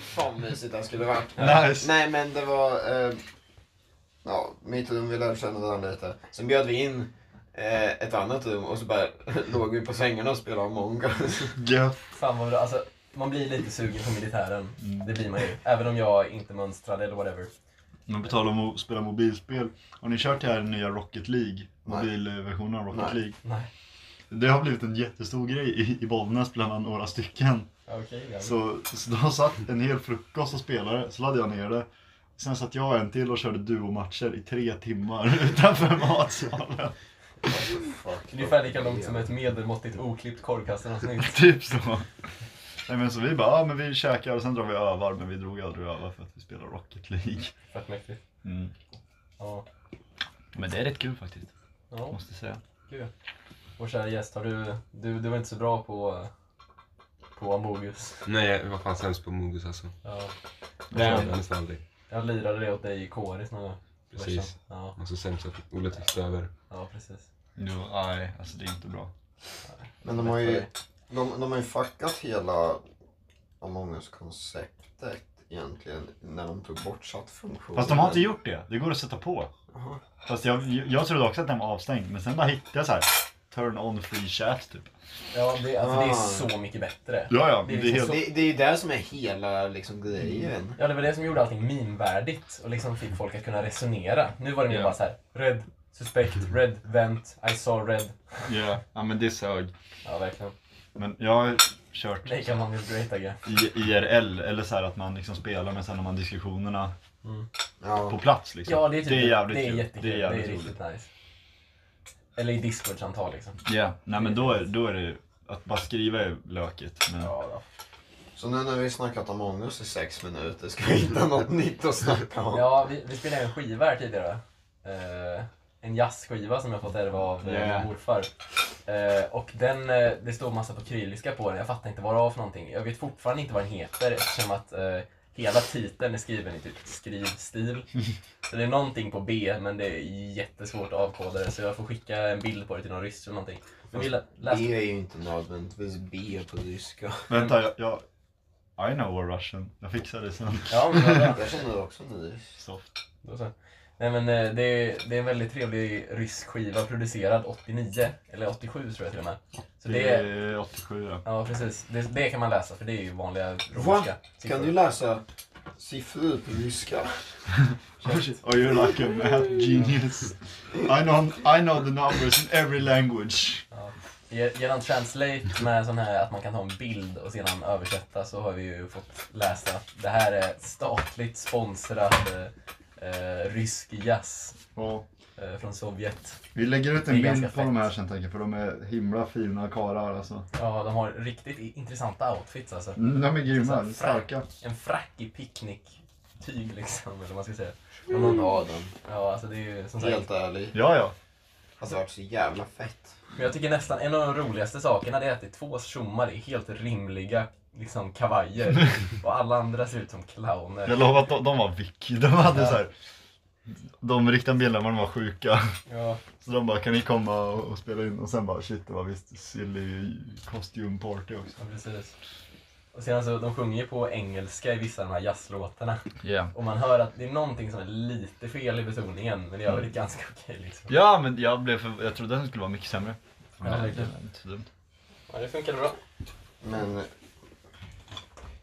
Speaker 1: Fan mysigt det skulle varit.
Speaker 2: Nice.
Speaker 1: Nej men det var, eh, ja mitt rum, vi lärde känna varandra lite. Sen bjöd vi in eh, ett annat rum och så bara låg vi på sängarna och spelade Among Us.
Speaker 2: Gött.
Speaker 3: Fan vad bra. Alltså, man blir lite sugen på militären. Det blir man ju. Även om jag inte mönstrade eller whatever.
Speaker 2: Men på tal om att spela mobilspel. Har ni kört det här nya Rocket League?
Speaker 1: Nej.
Speaker 2: Mobilversionen av Rocket
Speaker 1: Nej.
Speaker 2: League.
Speaker 3: Nej.
Speaker 2: Det har blivit en jättestor grej i, i Bollnäs bland några stycken.
Speaker 3: Okej, grabbar.
Speaker 2: Så, så de satt en hel frukost och spelade, så laddade jag ner det. Sen satt jag och en till och körde duomatcher i tre timmar utanför matsalen.
Speaker 1: Fuck.
Speaker 3: Det är ungefär lika långt som ett medelmåttigt oklippt korvkastaravsnitt.
Speaker 2: typ så. Nej men så vi bara, ja men vi käkar och sen drar vi övar. Men vi drog aldrig över för att vi spelar Rocket League.
Speaker 3: Fett mäktigt. Ja.
Speaker 2: Mm. Men det är rätt kul faktiskt,
Speaker 3: ja.
Speaker 2: måste jag säga.
Speaker 3: Vår kära gäst, har du, du, du var inte så bra på, på Amogus.
Speaker 4: Nej, jag var fan sämst på Mogus alltså.
Speaker 3: Ja.
Speaker 4: Jag
Speaker 3: Den,
Speaker 4: körde nästan aldrig.
Speaker 3: jag lirade det åt dig i kåris någon gång.
Speaker 4: Precis.
Speaker 3: Ja,
Speaker 4: Och så sämst att Olle tyckte över.
Speaker 3: ja, precis.
Speaker 2: Jo, nej, alltså det är inte bra.
Speaker 1: Men de har ju,
Speaker 3: Lätt
Speaker 1: de, de har ju fuckat hela Among us-konceptet egentligen när de tog bort chattfunktionen.
Speaker 2: Fast de har inte gjort det, det går att sätta på.
Speaker 1: Jaha.
Speaker 2: Fast jag, jag trodde också att den var avstängd, men sen bara hittade jag så här. Turn on free chat typ.
Speaker 3: Ja, det, alltså, det är
Speaker 1: Ah.
Speaker 3: så mycket bättre.
Speaker 2: Ja, ja,
Speaker 3: Det är liksom
Speaker 1: Det, det är ju det som är hela liksom,
Speaker 2: Mm.
Speaker 1: grejen.
Speaker 3: Ja, det var det som gjorde allting minvärdigt och liksom fick folk att kunna resonera. Nu var det mer
Speaker 2: Ja.
Speaker 3: bara så här, red, suspect, red, vent, I saw red.
Speaker 2: Ja, ja men det sög.
Speaker 3: Ja, verkligen.
Speaker 2: Men jag har kört
Speaker 3: Make a man is great again.
Speaker 2: i- IRL, eller så här att man liksom spelar men sen har man diskussionerna på
Speaker 1: Ja.
Speaker 2: plats liksom.
Speaker 3: Ja, det är, typ,
Speaker 2: jävligt
Speaker 3: det är
Speaker 2: kul.
Speaker 3: jättekul.
Speaker 2: Det är jävligt roligt.
Speaker 3: riktigt nice. Eller i Discord-samtal liksom.
Speaker 2: Ja, nej men då är, då är det, att bara skriva är löket. Men...
Speaker 3: Ja, då.
Speaker 1: Så nu när vi snackat Among us i sex minuter ska vi hitta något nytt att snacka om.
Speaker 3: Ja, vi, vi spelade en skiva här tidigare. Eh, en jazzskiva som jag fått ärva av eh,
Speaker 2: Yeah.
Speaker 3: min morfar. Eh, och den, eh, det står massa på kyrilliska på den, jag fattar inte vad det var för någonting. Jag vet fortfarande inte vad den heter eftersom att eh, hela titeln är skriven i typ skrivstil. Så det är någonting på B, men det är jättesvårt att avkoda det så jag får skicka en bild på det till någon ryss eller någonting. Men vi lä- läste...
Speaker 1: B är ju inte nödvändigtvis B på ryska.
Speaker 2: Vänta, jag, jag... I know a Russian. Jag fixar det sen.
Speaker 3: Ja, men vad bra.
Speaker 1: Jag känner också ny.
Speaker 2: Soft.
Speaker 3: Då så. Nej men eh, det är, det är en väldigt trevlig rysk skiva producerad 89, eller 87 tror jag till och med. Så
Speaker 2: Det
Speaker 3: det är,
Speaker 2: är 87 ja.
Speaker 3: ja precis, det, det kan man läsa för det är ju vanliga
Speaker 1: Va?
Speaker 3: romerska
Speaker 1: Kan du läsa siffror på ryska?
Speaker 2: Oh you're like a math genius. I know, I know the numbers in every language.
Speaker 3: Ge- Genom translate med sån här att man kan ta en bild och sedan översätta så har vi ju fått läsa att det här är statligt sponsrad eh, eh, rysk jazz
Speaker 2: Ja.
Speaker 3: eh, från Sovjet.
Speaker 2: Vi lägger ut
Speaker 3: Det
Speaker 2: en
Speaker 3: är ganska
Speaker 2: bild på de här
Speaker 3: fett.
Speaker 2: sen tänker jag, för de är himla fina karlar alltså.
Speaker 3: Ja, de har riktigt i- intressanta outfits alltså.
Speaker 2: Mm, De är
Speaker 3: Så här
Speaker 2: grymma,
Speaker 3: fräck.
Speaker 2: starka.
Speaker 3: En frack i picknicktyg liksom, eller vad man ska säga.
Speaker 1: Om man har den.
Speaker 3: Ja, alltså det är ju som sagt.
Speaker 1: Helt ärligt.
Speaker 2: Ja, ja.
Speaker 1: Alltså det har varit så jävla fett.
Speaker 3: Men jag tycker nästan en av de roligaste sakerna det är att det är två tjommar i helt rimliga liksom kavajer och alla andra ser ut som
Speaker 2: Jag
Speaker 3: clowner.
Speaker 2: lovar att de, de var vick. De hade så här. De riktiga medlemmarna var sjuka.
Speaker 3: Ja,
Speaker 2: Så de bara, kan ni komma och, och spela in? Och sen bara, shit det var visst silly costume party också.
Speaker 3: ja, precis. Och sen så, de sjunger ju på engelska i vissa av de här jazzlåtarna.
Speaker 2: Ja.
Speaker 3: Och man hör att det är någonting som är lite fel i betoningen, men det är väl ganska okej liksom.
Speaker 2: Ja, men jag blev för, jag trodde den skulle vara mycket sämre.
Speaker 3: Ja, verkligen.
Speaker 2: det är inte så dumt.
Speaker 3: Ja, det funkar bra.
Speaker 1: Men eh,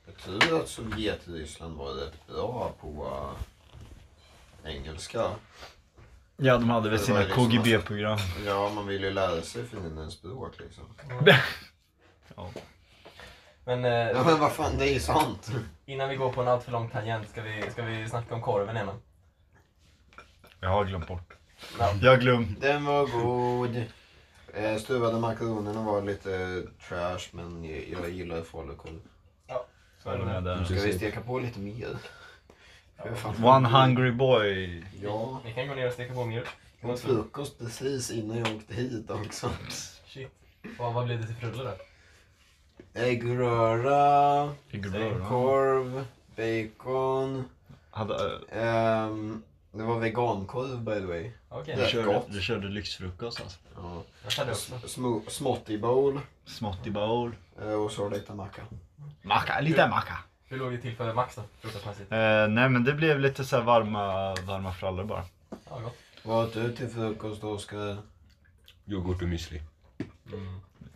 Speaker 1: jag tror att Sovjetryssland var rätt bra på eh, engelska.
Speaker 2: Ja, de hade väl
Speaker 1: Det
Speaker 2: sina
Speaker 1: var liksom-
Speaker 2: KGB-program.
Speaker 1: Ja, man vill ju lära sig fiendens språk liksom.
Speaker 3: Men eh,
Speaker 1: Ja men vad fan, det är ju sant.
Speaker 3: innan vi går på en alltför lång tangent, ska vi, ska vi snacka om korven igen?
Speaker 2: Jag har glömt bort.
Speaker 3: Ja.
Speaker 2: Jag har glömt.
Speaker 1: Den var god. Eh, Stuvade makaronerna var lite trash men jag, jag gillar falukorv.
Speaker 2: Håller med där.
Speaker 1: Ska vi steka på lite mer? För fan.
Speaker 2: One hungry boy.
Speaker 1: Ja,
Speaker 3: Ni kan gå ner och steka på mjölk.
Speaker 1: och frukost precis innan jag åkte hit också.
Speaker 3: Shit. Vad, vad blev det till frulle då?
Speaker 1: Äggröra,
Speaker 2: Figurer,
Speaker 1: korv, bacon.
Speaker 2: hade, äh,
Speaker 1: Ehm, det var vegankorv by the way.
Speaker 3: Okej,
Speaker 2: du,
Speaker 1: Ja.
Speaker 2: körde,
Speaker 1: gott.
Speaker 2: du körde lyxfrukost alltså.
Speaker 1: Ja.
Speaker 3: jag hade också.
Speaker 1: Sm- Smotty bowl
Speaker 2: Smått i bowl.
Speaker 1: eh, och så lite macka.
Speaker 2: Macka, lite macka.
Speaker 3: Hur låg det till för Max då, frukostmässigt?
Speaker 2: Eh, nej men det blev lite så här varma, varma frallor bara.
Speaker 3: Ja, gott.
Speaker 1: Vad åt du till frukost Oskar?
Speaker 3: Mm.
Speaker 4: Yoghurt och müsli.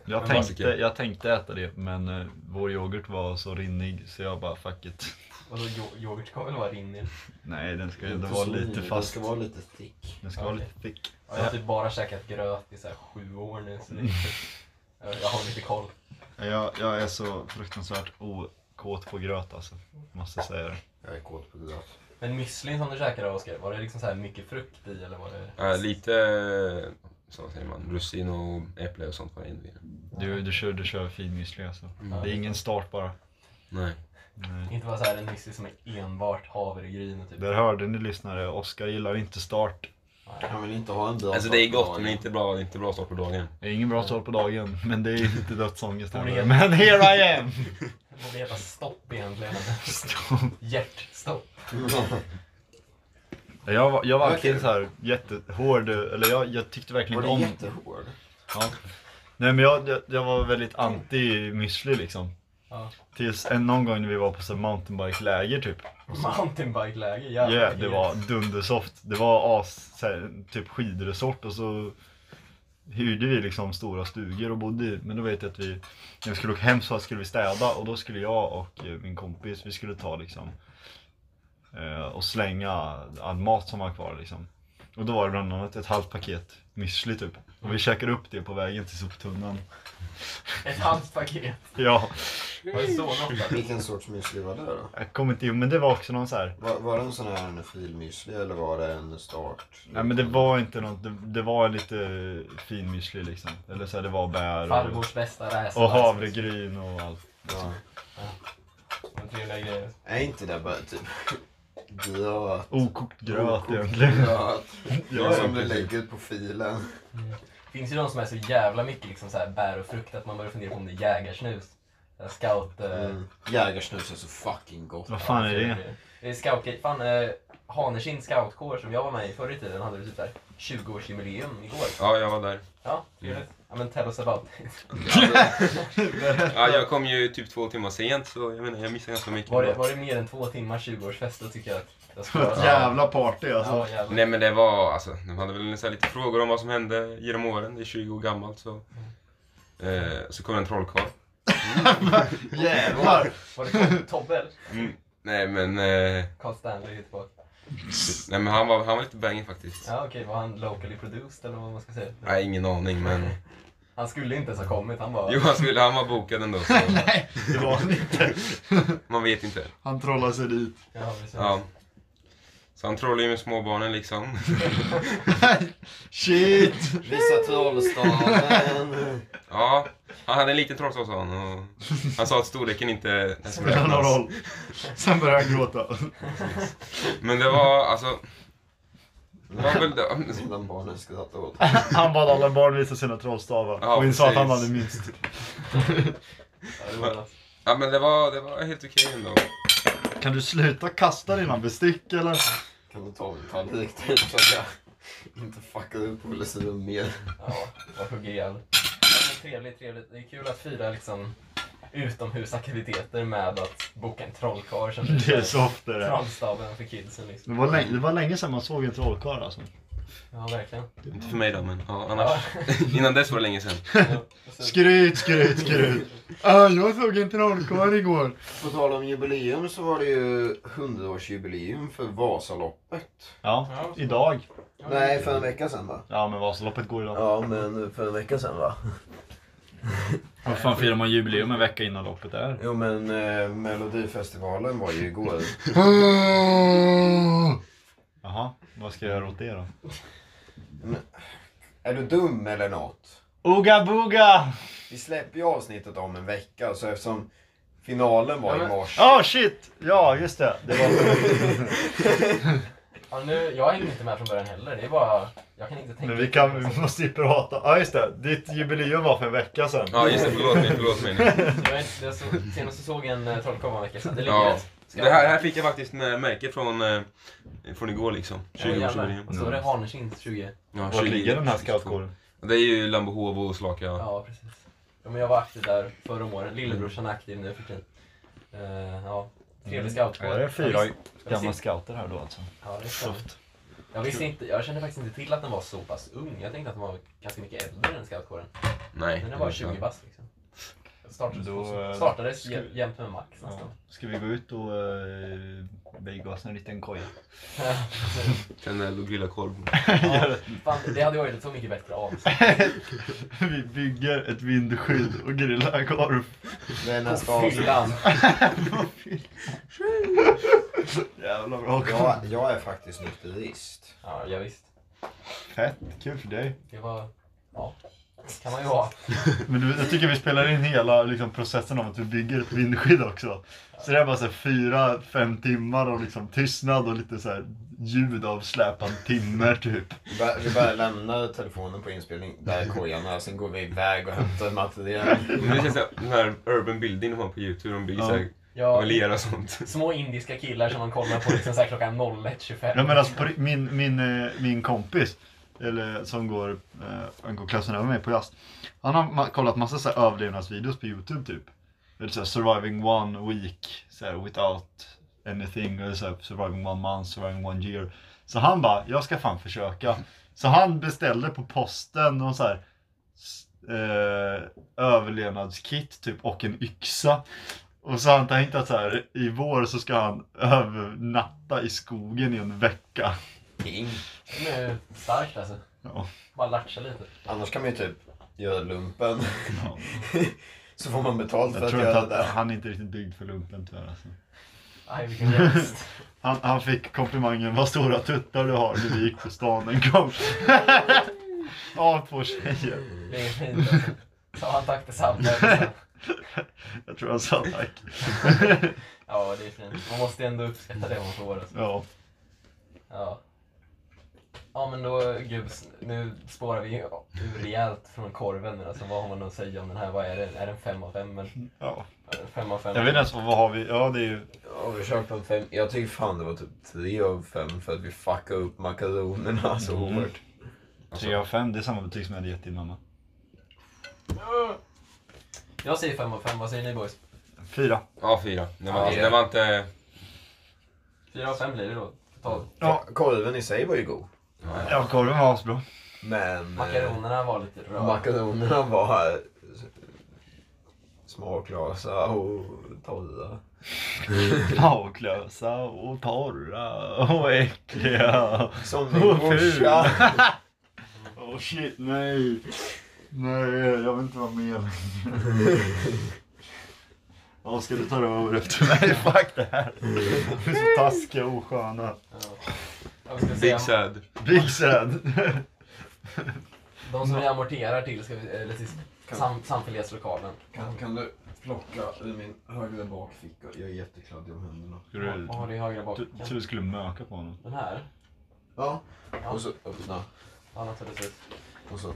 Speaker 2: Jag
Speaker 4: Men
Speaker 2: tänkte,
Speaker 4: basically.
Speaker 2: jag tänkte äta det men eh, vår yoghurt var så rinnig så jag bara fuck it.
Speaker 3: Vadå, yo- yoghurt kommer väl vara rinnig?
Speaker 2: Nej den ska ju ändå
Speaker 1: Inte
Speaker 2: vara
Speaker 1: så
Speaker 2: lite
Speaker 1: nylig,
Speaker 2: fast.
Speaker 1: Den ska vara lite thick.
Speaker 2: Den ska vara
Speaker 3: Okej.
Speaker 2: lite thick.
Speaker 3: Ja, Jag har typ bara käkat gröt i så här sju år nu så det är, jag jag har lite koll.
Speaker 2: Jag, jag är så fruktansvärt okåt på gröt alltså. Jag måste säga det.
Speaker 1: Jag är kåt på gröt.
Speaker 3: Men müslin som du käkade Oskar, var det liksom så här mycket frukt i eller var det?
Speaker 4: Ja, lite, eh, så säger man, russin och äpple och sånt var det inte.
Speaker 2: Du, du, kör, du kör fin müsli alltså.
Speaker 4: Mm.
Speaker 2: Det är ingen start bara.
Speaker 4: Nej.
Speaker 2: Nej.
Speaker 3: Inte bara så här en müsli som är enbart havregryn och typ.
Speaker 2: Där hörde ni lyssnare, Oskar gillar inte start.
Speaker 1: Han vill inte ha en bra
Speaker 4: Alltså det är gott men det är inte bra, det är inte bra start på dagen.
Speaker 2: Det är ingen bra start på dagen, men det är inte dödsångest
Speaker 3: Borde
Speaker 2: heller.
Speaker 3: heta-
Speaker 2: Men here I am!
Speaker 3: Det borde heta stopp egentligen.
Speaker 2: Stopp.
Speaker 3: Hjärtstopp.
Speaker 2: Jag var, jag var
Speaker 1: Okej.
Speaker 2: verkligen så här jättehård, eller jag, jag tyckte verkligen
Speaker 1: Var det
Speaker 2: inte om...
Speaker 1: jättehård?
Speaker 2: Ja. Nej men jag, jag, jag var väldigt anti müsli liksom.
Speaker 3: Ja.
Speaker 2: Tills en, någon gång när vi var på så här mountainbike-läger typ.
Speaker 3: Mountainbike-läge,
Speaker 2: Ja,
Speaker 3: jävlar.
Speaker 2: det var dundersoft. Det var as, så här, typ skidresort och så hyrde vi liksom stora stugor och bodde i. Men då vet jag att vi, när vi skulle åka hem så skulle vi städa och då skulle jag och eh, min kompis, vi skulle ta liksom eh, och slänga all mat som var kvar liksom. Och då var det bland annat ett halvt paket müsli typ. Och vi käkade upp det på vägen till soptunnan.
Speaker 3: Ett halvt paket.
Speaker 2: Ja,
Speaker 3: Var det så något? alltså?
Speaker 1: Vilken sorts müsli var det då?
Speaker 2: jag kommer inte ihåg, men det var också någon så här
Speaker 1: Var, var det en sån här filmüsli eller var det en start?
Speaker 2: Nej men det var inte något, det, det var lite fin müsli liksom. Eller så här, det var bär och,
Speaker 3: Farbrors bästa räs.
Speaker 2: och havregryn och allt.
Speaker 1: Ja.
Speaker 3: Och Trevliga grejer.
Speaker 1: Är inte det bara typ gröt?
Speaker 2: Okokt gröt
Speaker 1: Okokt
Speaker 2: egentligen.
Speaker 1: Gröt.
Speaker 2: Ja,
Speaker 1: Ja, som du
Speaker 2: precis.
Speaker 1: lägger på filen.
Speaker 3: finns ju de som är så jävla mycket liksom så här bär och frukt att man börjar fundera på om det är jägarsnus. Det här Scout... eh,
Speaker 1: Mm. Jägarsnus är så fucking gott.
Speaker 2: Vad fan är det?
Speaker 3: Det är scout Fan, eh, Hanerkind scoutkår som jag var med i förr i tiden hade typ där 20-årsjubileum igår.
Speaker 4: Ja, jag var där.
Speaker 3: Ja, det är det. Ja men tell us about it.
Speaker 4: Ja, jag kom ju typ två timmar sent så jag menar, jag missade ganska mycket.
Speaker 3: Var det, var det mer än två timmars 20-årsfest då tycker jag att jag skulle...
Speaker 2: Ett jävla party alltså.
Speaker 3: Ja, jävlar.
Speaker 4: Nej men det var alltså, de hade väl så här lite frågor om vad som hände genom åren, det är 20 år gammalt så. Eh, så kom en trollkarl.
Speaker 2: Jävlar!
Speaker 3: Var det Tob- Tobbe eller?
Speaker 4: Mm. Nej men, eh,
Speaker 3: Carl Stanley är tillbaka.
Speaker 4: nej men han var, han var lite bangig faktiskt.
Speaker 3: Ja okej, var han locally produced eller vad man ska säga?
Speaker 4: Nej ingen aning men,
Speaker 3: Han skulle inte ens ha kommit, han bara...
Speaker 4: jo han skulle, han var bokad ändå så
Speaker 2: Nej, det var han inte.
Speaker 4: man vet inte.
Speaker 2: Han trollade sig dit.
Speaker 3: Ja, precis.
Speaker 4: Ja. Så han trollade ju med småbarnen liksom.
Speaker 2: Shit!
Speaker 1: Visa trollstaven.
Speaker 4: Ja, han hade en liten trollstav sa han och han sa att storleken inte den skulle
Speaker 2: Spelar någon
Speaker 4: räknas.
Speaker 2: roll. Sen började han gråta.
Speaker 4: Men det var alltså, det var väl det.
Speaker 1: Den barnen skrattar åt.
Speaker 2: Han bad alla barn visa sina trollstavar
Speaker 4: Ja,
Speaker 2: och insåg att han
Speaker 4: precis.
Speaker 2: hade minst.
Speaker 3: Ja, det var något.
Speaker 4: Ja men det var, det var helt okej ändå.
Speaker 2: Kan du sluta kasta dina bestick eller?
Speaker 1: Kan du ta min tallrik typ så att jag inte fuckar upp polesyren mer?
Speaker 3: Ja, vad hugger ihjäl. Trevligt, trevligt. Det är kul att fira liksom utomhusaktiviteter med att boka en trollkarl som
Speaker 2: Det är soft det där.
Speaker 3: Trollstaven för kidsen liksom.
Speaker 2: Det var länge, det var länge sedan man såg en trollkarl alltså.
Speaker 3: Ja, verkligen.
Speaker 4: Inte för mig då men, ja annars. Innan dess var det länge sedan.
Speaker 3: Ja, och så-
Speaker 2: Skryt, skryt, skryt. Ah, jag såg en trollkarl igår.
Speaker 1: På tal om jubileum så var det ju 100-årsjubileum för Vasaloppet.
Speaker 2: Ja, idag.
Speaker 1: Nej, för en vecka sedan va?
Speaker 2: Ja, men Vasaloppet går idag.
Speaker 1: Ja, men för en vecka sedan va?
Speaker 2: Vad fan firar man jubileum en vecka innan loppet är?
Speaker 1: Jo, men eh, Melodifestivalen var ju igår.
Speaker 2: Ah. Jaha, vad ska jag göra åt det då?
Speaker 1: Är du dum eller något?
Speaker 2: Ooga booga!
Speaker 1: Vi släpper ju avsnittet om en vecka, så eftersom finalen var i morse.
Speaker 2: Ah shit! Ja, just det. det var...
Speaker 3: Ja, nu, jag hänger inte med från början heller. Det är bara... Jag kan inte tänka...
Speaker 2: Men vi, kan, vi måste ju prata. Ja, ah, just det. Ditt jubileum var för en vecka sedan.
Speaker 4: Ja just det, förlåt mig, förlåt mig nu.
Speaker 3: Jag är inte, jag så, senast jag såg en eh, trollkarl var en vecka sedan. Det ligger
Speaker 4: Ja.
Speaker 3: rätt. Ska
Speaker 4: Det här, här fick jag faktiskt med märke från, eh, från igår liksom.
Speaker 3: Ja, jävlar.
Speaker 4: 20-årsjubileum.
Speaker 3: Vad står det? Hanekins 20?
Speaker 4: Ja,
Speaker 2: Var
Speaker 4: 20
Speaker 2: ligger den här scoutkåren?
Speaker 4: Det är ju Lambohov och Slaka.
Speaker 3: Ja, precis. Ja, men jag var aktiv där förra om åren. Lillebrorsan är aktiv nu för tiden. Eh, ja.
Speaker 2: Mm.
Speaker 3: Trevlig scoutkår.
Speaker 2: Var det
Speaker 3: Jag
Speaker 2: fyra
Speaker 3: visste- jag
Speaker 2: gamla
Speaker 3: visste-
Speaker 2: scouter här då alltså?
Speaker 3: Ja, det stämmer.
Speaker 2: Soft.
Speaker 3: Jag visste inte, jag kände faktiskt inte till att den var så pass ung. Jag tänkte att den var ganska mycket äldre än scoutkåren.
Speaker 4: Nej.
Speaker 3: Men
Speaker 4: det
Speaker 3: jag var
Speaker 4: var
Speaker 3: 20
Speaker 4: så.
Speaker 3: bast liksom. Jag Startades,
Speaker 2: Då,
Speaker 3: på-
Speaker 2: eh,
Speaker 3: startades
Speaker 2: ska vi-
Speaker 3: jämt med Max nästan.
Speaker 2: Ska vi gå ut och uh, bygga oss en liten koja?
Speaker 4: Kanel och grillad korv.
Speaker 3: Ja, fan, det hade varit ett så mycket bättre avsnitt.
Speaker 2: vi bygger ett vindskydd och grillar korv.
Speaker 1: Det är nästa avsnitt.
Speaker 3: Fyllan.
Speaker 2: Jävla bra
Speaker 1: Jag, jag är faktiskt nykterist.
Speaker 3: Ja, ja, visst.
Speaker 2: Fett, kul för dig.
Speaker 3: Det var... Ja. Kan man ju ha.
Speaker 2: Men du, jag tycker vi spelar in hela liksom, processen av att vi bygger ett vindskydd också. Så det är bara så här fyra, fem timmar av liksom, tystnad och lite så här, ljud av släpande timmer typ.
Speaker 1: Vi bara- Vi bara lämnar telefonen på inspelning, där är kojan är, sen går vi iväg och hämtar material.
Speaker 4: Men det känns som den här urban building de har på youtube, de bygger
Speaker 2: Ja.
Speaker 4: såhär
Speaker 3: Ja,
Speaker 4: av lera och sånt.
Speaker 3: små indiska killar som man kollar på liksom så här klockan 01.25.
Speaker 2: Jag menar, alltså, på, ri- min, min, eh, min kompis eller, som går, eh, han går klassen över mig på jazz. Han har ma- kollat massa så här, överlevnadsvideos på youtube typ. Eller så här, surviving one week så här, without anything. Eller så här, surviving one month, surviving one year. Så han bara, jag ska fan försöka. Så han beställde på posten och så här s- eh, överlevnadskit typ och en yxa. Och så har han tänkt att så här, i vår så ska han övernatta i skogen i en vecka.
Speaker 1: King.
Speaker 3: Det är ju starkt alltså.
Speaker 2: Ja.
Speaker 3: Bara latcha lite.
Speaker 1: Annars kan man ju typ göra lumpen.
Speaker 2: Ja.
Speaker 1: Så får man betalt för
Speaker 2: Jag
Speaker 1: att
Speaker 2: tror inte
Speaker 1: göra det
Speaker 2: att
Speaker 1: där.
Speaker 2: han är inte riktigt byggd för lumpen tyvärr. Alltså.
Speaker 3: Aj, vilken gäst.
Speaker 2: Han, han fick komplimangen, vad stora tuttar du har när vi gick på stan en gång. Ja, två tjejer.
Speaker 3: Det är fint alltså. Så han tack detsamma. alltså.
Speaker 2: Jag tror han sa tack.
Speaker 3: Ja, det är fint. Man måste ändå uppskatta det man får. Alltså.
Speaker 2: Ja.
Speaker 3: Ja. Ja men då, gud, nu spårar vi ju ur rejält från korven nu alltså, vad har man att säga om den här? Vad är det? Är den 5 av 5 eller?
Speaker 2: ja.
Speaker 3: 5 av 5?
Speaker 2: Jag vet inte ens vad vad har vi, ja det är ju
Speaker 1: Ja, vi kör på en fem. Jag tycker fan det var typ tre av fem för att vi fuckade upp makaronerna så
Speaker 2: Mm.
Speaker 1: hårt.
Speaker 2: tre av fem. det är samma betyg som jag hade gett din mamma.
Speaker 3: Jag säger 5 av 5, vad säger ni boys?
Speaker 2: Fyra.
Speaker 4: Ja, fyra. Den var,
Speaker 3: Ja,
Speaker 4: alltså,
Speaker 1: det-
Speaker 4: den var inte...
Speaker 3: 4 av 5 blir det då.
Speaker 1: Mm,
Speaker 3: Totalt.
Speaker 2: Ja.
Speaker 1: Korven i sig var ju god.
Speaker 2: Ja, korven var asbra.
Speaker 1: Men eh,
Speaker 3: Makaronerna var lite röda.
Speaker 1: makaronerna var eh, smaklösa och torra.
Speaker 2: Maglösa och torra och äckliga.
Speaker 1: Som
Speaker 2: Och
Speaker 1: min morsa.
Speaker 2: Åh oh shit, nej. Nej, jag vill inte vara med längre. Ja, ska du ta över efter mig? Fuck det här. Vi är så taskiga och osköna.
Speaker 3: Ja. Ja, vi ska
Speaker 4: Big
Speaker 3: säga,
Speaker 4: sad.
Speaker 2: Big sad.
Speaker 3: de som vi amorterar till, ska vi, eller till sam, samfällighetslokalen.
Speaker 1: Kan, kan du plocka ur min högra bakficka? Jag är jättekladdig om händerna.
Speaker 2: Du,
Speaker 3: Vad har du i högra bak?
Speaker 2: du, du skulle möka på honom.
Speaker 3: Den här?
Speaker 1: Ja.
Speaker 3: Ja.
Speaker 1: Och så öppna.
Speaker 3: Ja, naturligtvis.
Speaker 1: Och så.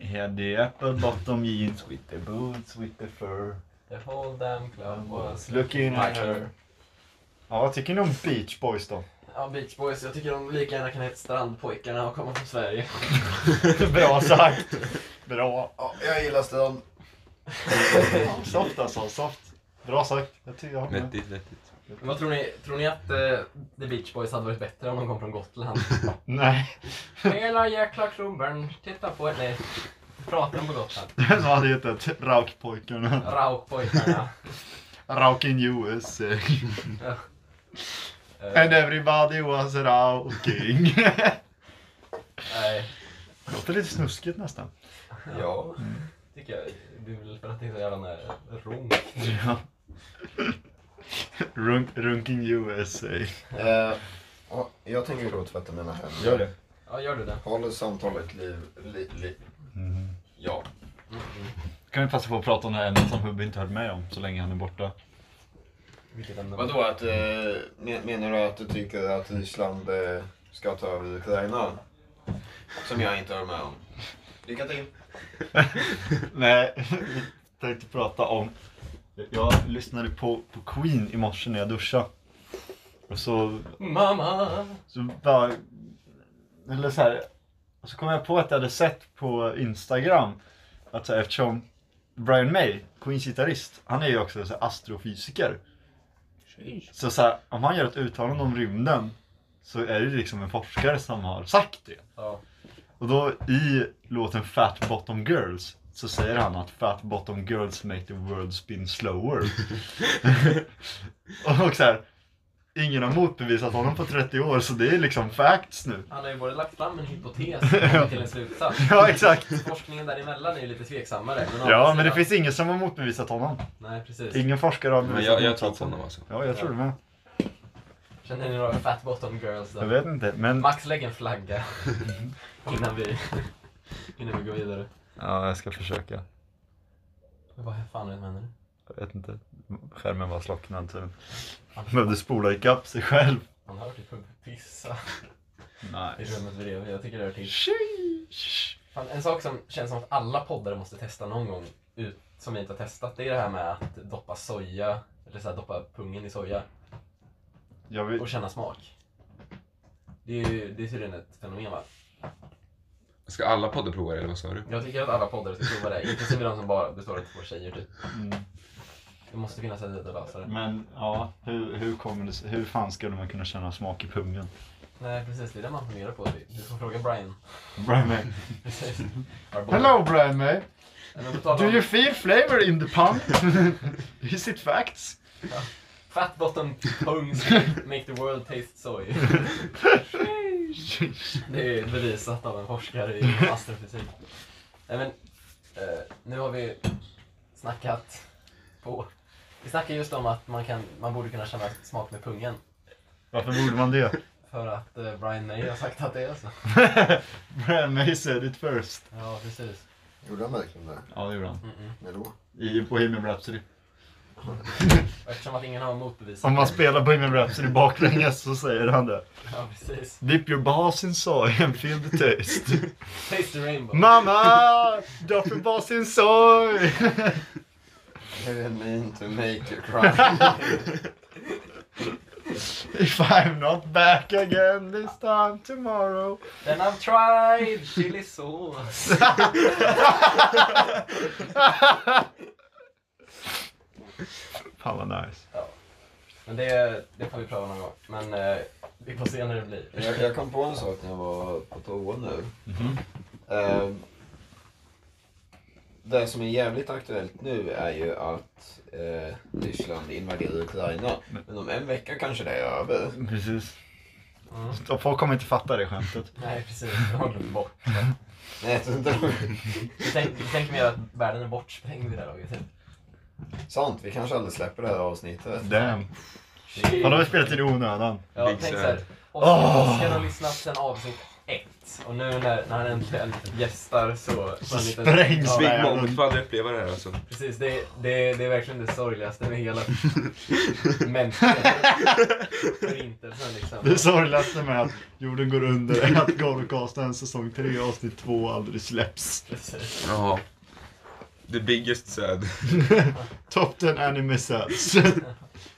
Speaker 2: Yeah, the apple bottom jeans with the boots with the fur.
Speaker 3: The whole damn club was...
Speaker 2: Looking at
Speaker 3: her.
Speaker 2: her. Ja, vad tycker ni om Beach Boys då?
Speaker 3: Ja, Beach Boys. Jag tycker de lika gärna kan heta Strandpojkarna och komma från Sverige.
Speaker 2: Bra sagt. Bra.
Speaker 1: Ja, jag gillar strand.
Speaker 2: Soft alltså, soft. Bra sagt. Jag tycker jag håller med.
Speaker 4: Vettigt, vettigt.
Speaker 3: Vad tror ni? Tror ni att eh, The Beach Boys hade varit bättre om de kom från Gotland?
Speaker 2: Nej.
Speaker 3: Hela jäkla klubben, titta på ett... Nej, pratar de på Gotland?
Speaker 2: Den som hade hetat Raukpojkarna.
Speaker 3: Raukpojkarna.
Speaker 2: Rauk in USA.
Speaker 3: Eh,
Speaker 2: And everybody was rauking.
Speaker 3: Eh, Nej,
Speaker 2: Låter lite snuskigt nästan.
Speaker 1: Ja.
Speaker 3: Mm. tycker jag. Det är väl för att det är så jävla nära runk.
Speaker 2: Ja. Runk, runking USA.
Speaker 1: Eh, ja, jag tänker gå och tvätta mina händer.
Speaker 2: det.
Speaker 3: Ja, gör du det?
Speaker 1: Håller samtalet liv... Li, li. Ja.
Speaker 2: Mm. Kan vi passa på att prata om det här ämnet som Hubbe inte hört med om så länge han är borta.
Speaker 3: Vilket ämne?
Speaker 1: Vadå, att, eh, men- menar du att du tycker att Ryssland eh, ska ta över Ukraina? Som jag inte håller med om. Lycka till.
Speaker 2: Nej, vi tänkte prata om... Jag lyssnade på, på Queen i morse när jag duschade. Och så
Speaker 3: Mamma!
Speaker 2: Så bara... Eller så här, och så kom jag på att jag hade sett på Instagram att så här, eftersom Brian May, Queens gitarrist, han är ju också så här, astrofysiker. Så, så här, om han gör ett uttalande om rymden så är det liksom en forskare som har sagt det.
Speaker 3: Ja.
Speaker 2: Och då i låten Fat Bottom Girls så säger han att fat bottom girls make the world spin slower. och så här, ingen har motbevisat honom på 30 år så det är liksom facts nu.
Speaker 3: Han har ju både lagt fram en hypotes och kommit till en slutsats.
Speaker 2: Ja exakt.
Speaker 3: Forskningen däremellan är ju lite tveksammare. Men å
Speaker 2: Ja
Speaker 3: andra
Speaker 2: men det
Speaker 3: sidan-
Speaker 2: finns ingen som har motbevisat honom.
Speaker 3: Nej, precis.
Speaker 2: Ingen forskare har
Speaker 4: Men
Speaker 2: bevisat
Speaker 4: jag, jag tror på
Speaker 2: motsatsen.
Speaker 4: honom alltså.
Speaker 2: Ja jag tror det med.
Speaker 3: Känner ni några fat bottom girls
Speaker 2: Jag
Speaker 3: då?
Speaker 2: vet inte men
Speaker 3: Max, lägg en flagga. innan, vi, innan vi går vidare.
Speaker 2: Ja, jag ska försöka.
Speaker 3: Vad fan är det med henne?
Speaker 2: Jag vet inte. Skärmen var slocknad så behövde spola ikapp sig själv.
Speaker 3: Man hör typ hur pissa i
Speaker 2: Nice.
Speaker 3: rummet bredvid. Jag tycker det hör till.
Speaker 2: Sheesh.
Speaker 3: Fan, en sak som känns som att alla poddare måste testa någon gång, ut, som vi inte har testat, det är det här med att doppa soja, eller så här, doppa pungen i soja
Speaker 2: Jag vill...
Speaker 3: och känna smak. Det är ju det är tydligen ett fenomen va?
Speaker 4: Ska alla poddar prova det eller vad sa du?
Speaker 3: Jag tycker att alla poddare ska prova det, inklusive de som bara består av två tjejer typ.
Speaker 2: Mm.
Speaker 3: Det måste finnas ett sätt att lösa det.
Speaker 2: Men ja, hur, hur, kommer det, sig- hur fan skulle man kunna känna smak i pungen?
Speaker 3: Nej precis, det är det man funderar på. Du får fråga Brian.
Speaker 2: Brian May.
Speaker 3: Precis. Har du-
Speaker 2: Hello Brian May!
Speaker 3: Men på tal
Speaker 2: Do
Speaker 3: om
Speaker 2: you feel flavor in the pump? Is it facts?
Speaker 3: Fat bottom pungs make the world taste soy. Det är bevisat av en forskare i astrofysik. Nej, men, eh, nu har vi snackat på... Vi snackar just om att man, kan, man borde kunna känna smak med pungen.
Speaker 2: Varför borde man det?
Speaker 3: För att eh, Brian May har sagt att det är så.
Speaker 2: Brian May said it first.
Speaker 3: Ja, precis.
Speaker 1: Gjorde han verkligen det?
Speaker 2: Ja, det gjorde han.
Speaker 3: Mm-mm.
Speaker 1: När då?
Speaker 2: I Bohemian Rhapsody.
Speaker 3: Och Eftersom att ingen har motbevisat
Speaker 2: Om man spelar Bohemian Rhapsody baklänges så säger han det.
Speaker 3: Ja, precis.
Speaker 2: Dip your balls in soy and feel the taste.
Speaker 3: Taste the rainbow.
Speaker 2: Mamma! Drop your balls in soy!
Speaker 1: I didn't mean to make you cry.
Speaker 2: If I'm not back again this time tomorrow.
Speaker 3: Then I've tried chili sauce.
Speaker 2: Fan vad nice.
Speaker 3: Men det, det får vi pröva någon gång. Men eh, vi får se när det blir.
Speaker 1: jag, jag kom på en sak när jag var på toa nu. Eh, det som är jävligt aktuellt nu är ju att eh, Ryssland invaderar Ukraina. Men om en vecka kanske det är över.
Speaker 2: Precis.
Speaker 3: Mm.
Speaker 2: Och folk kommer inte fatta det skämtet.
Speaker 3: Nej precis, det har glömt bort.
Speaker 1: Nej, jag tror inte det.
Speaker 3: Vi tänker, vi tänker mer att världen är bortsprängd vid det här laget. typ.
Speaker 1: Sant, vi kanske aldrig släpper det här avsnittet.
Speaker 2: Damn. Fan, då har vi spelat i det i onödan.
Speaker 3: Ja,
Speaker 4: Big
Speaker 3: tänk
Speaker 4: Sad.
Speaker 3: såhär.
Speaker 2: Åh!
Speaker 3: Oskar Oskar har lyssnat sen avsnitt ett. Och nu när, när han äntligen gästar så... får han lite-
Speaker 2: sprängs
Speaker 3: ja,
Speaker 2: vi.
Speaker 4: Big
Speaker 2: men-
Speaker 4: Mom får aldrig uppleva det här alltså.
Speaker 3: Precis, det, det, det är verkligen det sorgligaste med hela mänskliga förintelsen
Speaker 2: Det
Speaker 3: liksom.
Speaker 2: sorgligaste med att jorden går under är att Golvkasten säsong 3 avsnitt 2 aldrig släpps.
Speaker 3: Precis.
Speaker 4: Ja. The biggest sad.
Speaker 2: Top 10 anime sets.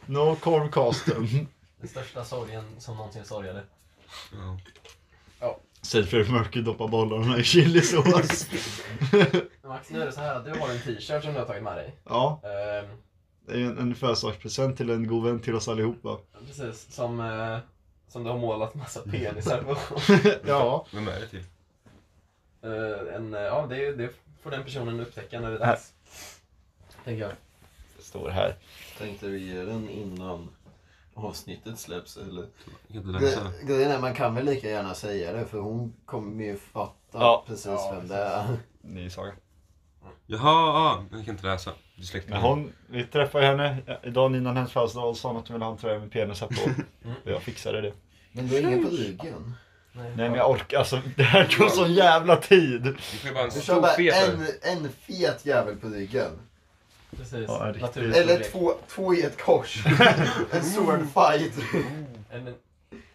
Speaker 2: No korvkasten.
Speaker 3: Den största sorgen som någonsin sorgade.
Speaker 4: Ja.
Speaker 2: Säg för mörker doppa bollarna i chilisås.
Speaker 3: Max, nu är det så här att du har en t-shirt som du har tagit med dig.
Speaker 2: Ja,
Speaker 3: Ehm,
Speaker 2: det är en, en födelsedagspresent till en god vän till oss allihopa.
Speaker 3: Precis, som, eh, som du har målat massa penisar på.
Speaker 2: Ja.
Speaker 4: Vem är det till?
Speaker 3: Eh, en, eh, ja, det, det får den personen upptäcka när det är dags. Tänker jag.
Speaker 2: Står här.
Speaker 1: Tänkte vi ge den innan avsnittet släpps eller?
Speaker 4: Jag kan inte läsa.
Speaker 1: Grejen är, man kan väl lika gärna säga det för hon kommer ju fatta
Speaker 2: Ja.
Speaker 1: precis
Speaker 3: Ja,
Speaker 1: vem det är.
Speaker 2: Ny saga.
Speaker 4: Jaha, ja. Jag kan inte läsa. Du släktar
Speaker 2: Men hon, vi träffade henne eh, dagen innan hennes födelsedag och sa att hon ville ha en tröja med penisar på. Och jag fixade det.
Speaker 1: Men du har inga på ryggen.
Speaker 2: Nej men jag orkar, alltså det här tog sån jävla tid.
Speaker 4: Du får ju bara en
Speaker 1: Du kör
Speaker 4: stor
Speaker 1: bara
Speaker 4: fet
Speaker 1: en,
Speaker 4: en...
Speaker 1: en fet jävel på ryggen.
Speaker 3: Precis,
Speaker 2: Ja, riktigt.
Speaker 3: naturligt.
Speaker 1: Eller två, två i ett kors. en sword fight.
Speaker 3: En, en,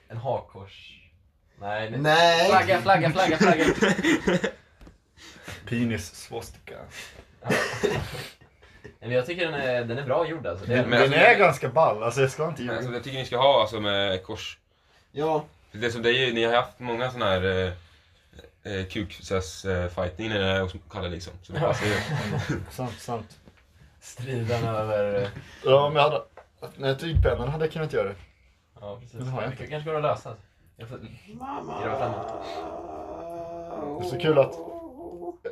Speaker 3: en hakkors. Nej, nej.
Speaker 1: Nej!
Speaker 3: Flagga, flagga, flagga, flagga.
Speaker 2: Penis swastika.
Speaker 3: Nej, men jag tycker den är, den är bra gjord alltså. Det,
Speaker 4: Men
Speaker 2: Men
Speaker 4: alltså,
Speaker 2: den är ganska ball, alltså jag ska inte
Speaker 4: Alltså,
Speaker 2: ljuga.
Speaker 4: jag tycker ni ska ha alltså med kors.
Speaker 1: Ja,
Speaker 4: För Det som det är ju, ni har haft många sådana här eh, eh, kuksass-fighting när det är hos Kalle liksom. Så det
Speaker 3: Ja.
Speaker 4: passar ju.
Speaker 2: Sant, sant.
Speaker 3: Striden över... eh,
Speaker 2: Ja men jag hade, nej tygpennan hade jag kunnat göra det.
Speaker 3: Ja, precis.
Speaker 2: Den har jag
Speaker 3: Det
Speaker 2: inte.
Speaker 3: kanske går att lösa. alltså. Jag får, Gräva framåt.
Speaker 2: Det är så kul att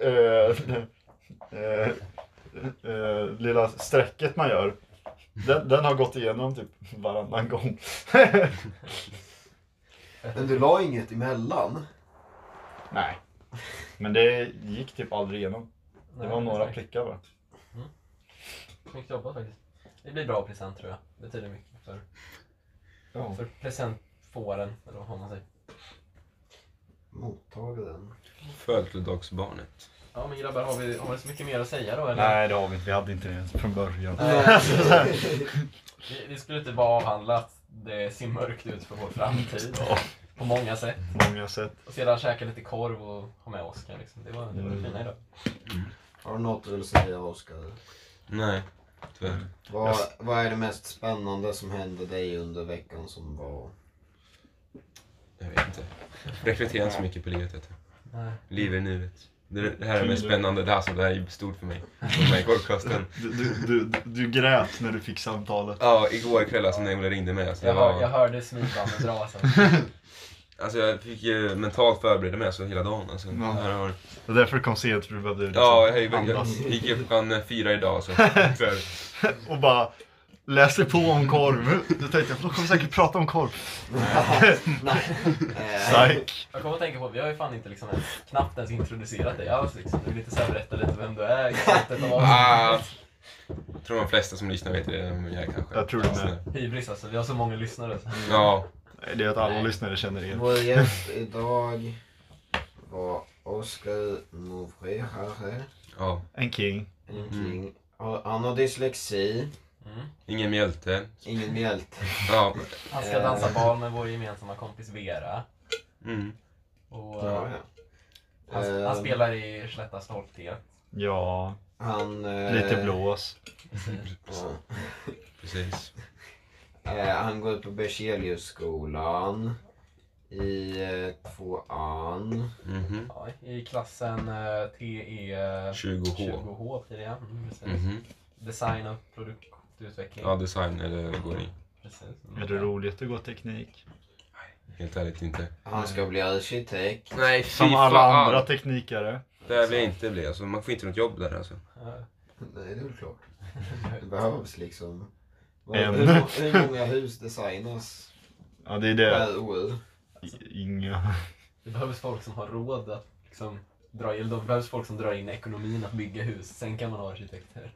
Speaker 2: eh, eh, eh, lilla strecket man gör, den, den har gått igenom typ varannan gång.
Speaker 1: Men du la inget emellan?
Speaker 2: Nej. Men det gick typ aldrig igenom. Det var några prickar bara.
Speaker 3: Snyggt jobbat faktiskt. Det blir bra present tror jag. Det betyder mycket för,
Speaker 2: Ja.
Speaker 3: för presentfåren, eller vad man säger.
Speaker 1: Mottagaren.
Speaker 4: Födelsedagsbarnet.
Speaker 3: Ja men grabbar, har vi, har vi så mycket mer att säga då eller?
Speaker 2: Nej det har vi inte, vi hade inte det ens från början.
Speaker 3: Det, det skulle inte vara avhandlat. Det ser mörkt ut för vår framtid. På många sätt.
Speaker 2: Många sätt.
Speaker 3: Och sedan käka lite korv och ha med Oskar liksom. Det var det, var det
Speaker 2: Mm.
Speaker 3: fina idag.
Speaker 1: Har du något du vill säga Oskar?
Speaker 4: Nej, tyvärr.
Speaker 1: Vad, vad är det mest spännande som hände dig under veckan som var?
Speaker 4: Jag vet inte. Reflektera inte så mycket på livet. Vet du.
Speaker 3: Nej.
Speaker 4: Liv i nuet. Det, det här är det mest spännande. Det här, så det här är stort för mig. För mig korvkasten.
Speaker 2: Du, du, du, du grät när du fick samtalet.
Speaker 4: Ja, igår kväll alltså, när Ola ringde mig. Alltså, det
Speaker 3: Jag, hör, jag
Speaker 4: var,
Speaker 3: hörde smidbanden dra sen.
Speaker 4: alltså, jag fick ju mentalt förbereda mig alltså, hela dagen. Alltså. Det här har-
Speaker 2: Det är därför du kom sent, för du behövde liksom
Speaker 4: Ja, jag, jag, jag
Speaker 2: andas.
Speaker 4: gick upp klockan fyra idag. Alltså. För,
Speaker 2: Och bara läser på om korv. Du tänkte, de kommer säkert prata om korv.
Speaker 1: Eh,
Speaker 2: Psyk.
Speaker 3: Jag kommer att tänka på, vi har ju fan inte liksom ens, knappt ens introducerat dig alls liksom. Du vill inte såhär berätta lite vem du är i slutet av avsnittet.
Speaker 4: ah, jag tror de flesta som lyssnar vet det, men jag kanske.
Speaker 2: Jag tror det med.
Speaker 3: Hybris alltså, vi har så många lyssnare. Så.
Speaker 4: Ja,
Speaker 2: Nej, Det är att alla lyssnare känner igen.
Speaker 1: Eh, Vår gäst idag var Oskar Novrehare.
Speaker 4: ja.
Speaker 2: En king.
Speaker 1: En king.
Speaker 2: Mm.
Speaker 1: Och Han har dyslexi,
Speaker 3: Mm.
Speaker 4: Ingen mjälte.
Speaker 1: ingen mjälte.
Speaker 4: Ja.
Speaker 3: Han ska
Speaker 1: Eh.
Speaker 3: dansa bal med vår gemensamma kompis Vera.
Speaker 4: Mm.
Speaker 3: Och,
Speaker 1: Ja,
Speaker 3: eh,
Speaker 1: ja.
Speaker 3: han,
Speaker 1: Eh,
Speaker 3: han spelar i Skellefteås stolpte.
Speaker 2: Ja,
Speaker 1: Han, eh,
Speaker 2: lite blås.
Speaker 1: ja.
Speaker 4: Precis.
Speaker 1: Eh, han går ut på Berzeliusskolan i eh, tvåan.
Speaker 4: Mhm.
Speaker 3: Ja, I klassen eh, TE
Speaker 4: 20H.
Speaker 3: 20H blir det ja. Mm, precis.
Speaker 4: Mhm.
Speaker 3: Design och produktutveckling.
Speaker 4: Ja, design eller går i.
Speaker 3: precis.
Speaker 2: Är det roligt att gå teknik?
Speaker 4: Helt ärligt inte.
Speaker 1: Han
Speaker 2: Mm.
Speaker 1: ska bli arkitekt.
Speaker 4: Nej,
Speaker 2: Som alla andra teknikare.
Speaker 4: Där vill jag inte bli. Alltså, man får inte något jobb där alltså.
Speaker 3: Ja.
Speaker 1: Nej, det är väl klart. Det behövs liksom. Vad-
Speaker 2: En.
Speaker 1: Hur, må- hur många hus designas
Speaker 2: Ja, det är det.
Speaker 1: per år?
Speaker 2: Inga.
Speaker 3: Det behövs folk som har råd att liksom, dra in, det behövs folk som drar in ekonomin att bygga hus. Sen kan man ha arkitekter.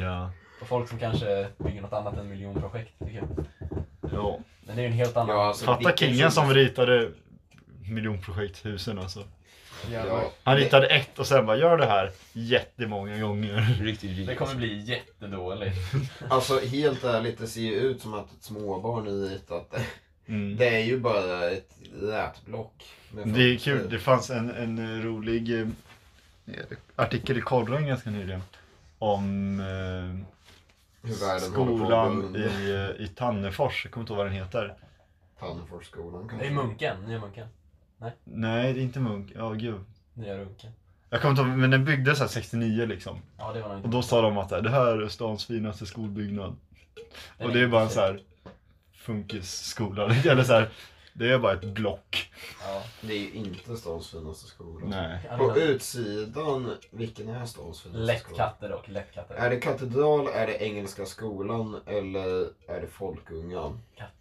Speaker 2: Ja.
Speaker 3: Och folk som kanske bygger något annat än miljonprojekt tycker jag.
Speaker 2: ja.
Speaker 3: Men det är ju en helt annan...
Speaker 1: Ja, alltså,
Speaker 2: Fatta
Speaker 1: vilken
Speaker 2: kingen som
Speaker 1: sida-
Speaker 2: ritade miljonprojekthusen alltså.
Speaker 1: Ja,
Speaker 2: Han ritade ett och sen bara, gör det här jättemånga gånger.
Speaker 4: Riktigt
Speaker 3: Det
Speaker 4: riktigt.
Speaker 3: kommer bli jättedåligt.
Speaker 1: alltså helt ärligt, det ser ju ut som att ett småbarn har ritat det.
Speaker 2: Mm.
Speaker 1: Det är ju bara ett rätblock. med
Speaker 2: Det är
Speaker 1: fönster.
Speaker 2: kul, det fanns en, en eh, rolig eh, artikel i Korren ganska nyligen om eh,
Speaker 1: Hur världen håller på
Speaker 2: skolan
Speaker 1: att
Speaker 2: i,
Speaker 1: gå under.
Speaker 2: eh, i Tannefors, jag kommer inte ihåg vad den heter.
Speaker 1: Tandforsskolan
Speaker 3: Det
Speaker 1: kanske.
Speaker 3: är Munken, Nya Munken.
Speaker 2: Nej, det är inte Munk, ja gud.
Speaker 3: Nya Runken.
Speaker 2: Jag kommer inte ihåg, men den byggdes här 69 liksom.
Speaker 3: Ja, det var nog
Speaker 2: Och
Speaker 3: inte...
Speaker 2: då sa de att så här, det här är stans finaste skolbyggnad.
Speaker 3: Den
Speaker 2: Och det är bara en
Speaker 3: jättefin.
Speaker 2: så här funkisskola, eller så här, det är bara ett block.
Speaker 3: Ja.
Speaker 1: Det är ju inte stans finaste skola.
Speaker 2: Nej.
Speaker 3: Ja, det
Speaker 1: På
Speaker 3: var-
Speaker 1: utsidan, vilken är stans finaste skola?
Speaker 3: Lättkatter dock, lättkatter.
Speaker 1: Är det katedral, är det Engelska skolan eller är det Folkungan?
Speaker 3: Katter.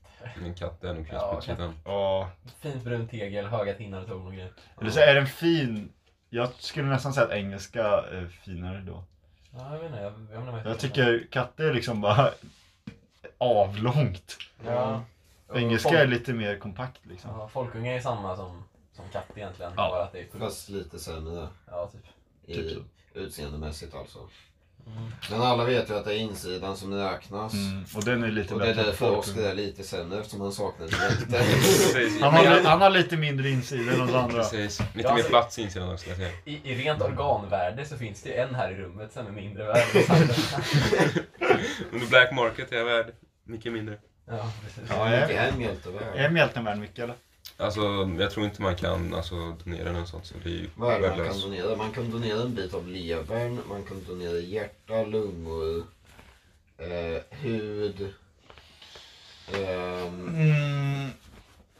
Speaker 4: En katt är nog
Speaker 3: Ja,
Speaker 4: knäppt på sidan.
Speaker 2: Ja.
Speaker 3: Fint brunt tegel, höga tinnar och torn och grejer.
Speaker 2: Eller så är den fin. Jag skulle nästan säga att engelska är finare då.
Speaker 3: Ja, jag vet inte. Jag, jag, menar vad
Speaker 2: Jag tycker katter är liksom bara avlångt.
Speaker 3: Ja.
Speaker 2: Engelska är lite mer kompakt liksom.
Speaker 3: Ja, folkunge är samma som, som katt egentligen.
Speaker 2: Ja.
Speaker 3: Bara att det är fullt.
Speaker 1: Fast lite sämre
Speaker 3: Ja, typ.
Speaker 1: i
Speaker 2: Typ så.
Speaker 1: utseendemässigt alltså.
Speaker 3: Mm.
Speaker 1: Men alla vet ju att det är insidan som räknas.
Speaker 2: Mm, och den är lite
Speaker 1: Och det är
Speaker 2: bättre. än
Speaker 1: därför Oskar
Speaker 2: folkungar.
Speaker 1: är lite sämre eftersom han saknar direkter.
Speaker 4: Precis.
Speaker 2: Han har, li- han har lite mindre insida än oss andra.
Speaker 4: Precis.
Speaker 3: Ja,
Speaker 4: Lite mer
Speaker 3: alltså-
Speaker 4: plats i insidan också ska jag säga.
Speaker 3: I, I rent organvärde så finns det ju en här i rummet som är mindre värd. än den andra.
Speaker 4: Under black market är jag värd mycket mindre.
Speaker 3: ja, precis.
Speaker 2: Ja,
Speaker 1: Det
Speaker 2: är,
Speaker 1: är en mjöltevärld.
Speaker 2: är mjälten värd mycket eller?
Speaker 4: Alltså, jag tror inte man kan alltså, donera eller något sånt. Så det är ju
Speaker 1: Vad är det man kan
Speaker 4: värdelöst.
Speaker 1: donera? Man kan donera en bit av levern, man kan donera hjärta, lungor, eh, hud, ehm,
Speaker 2: Mm,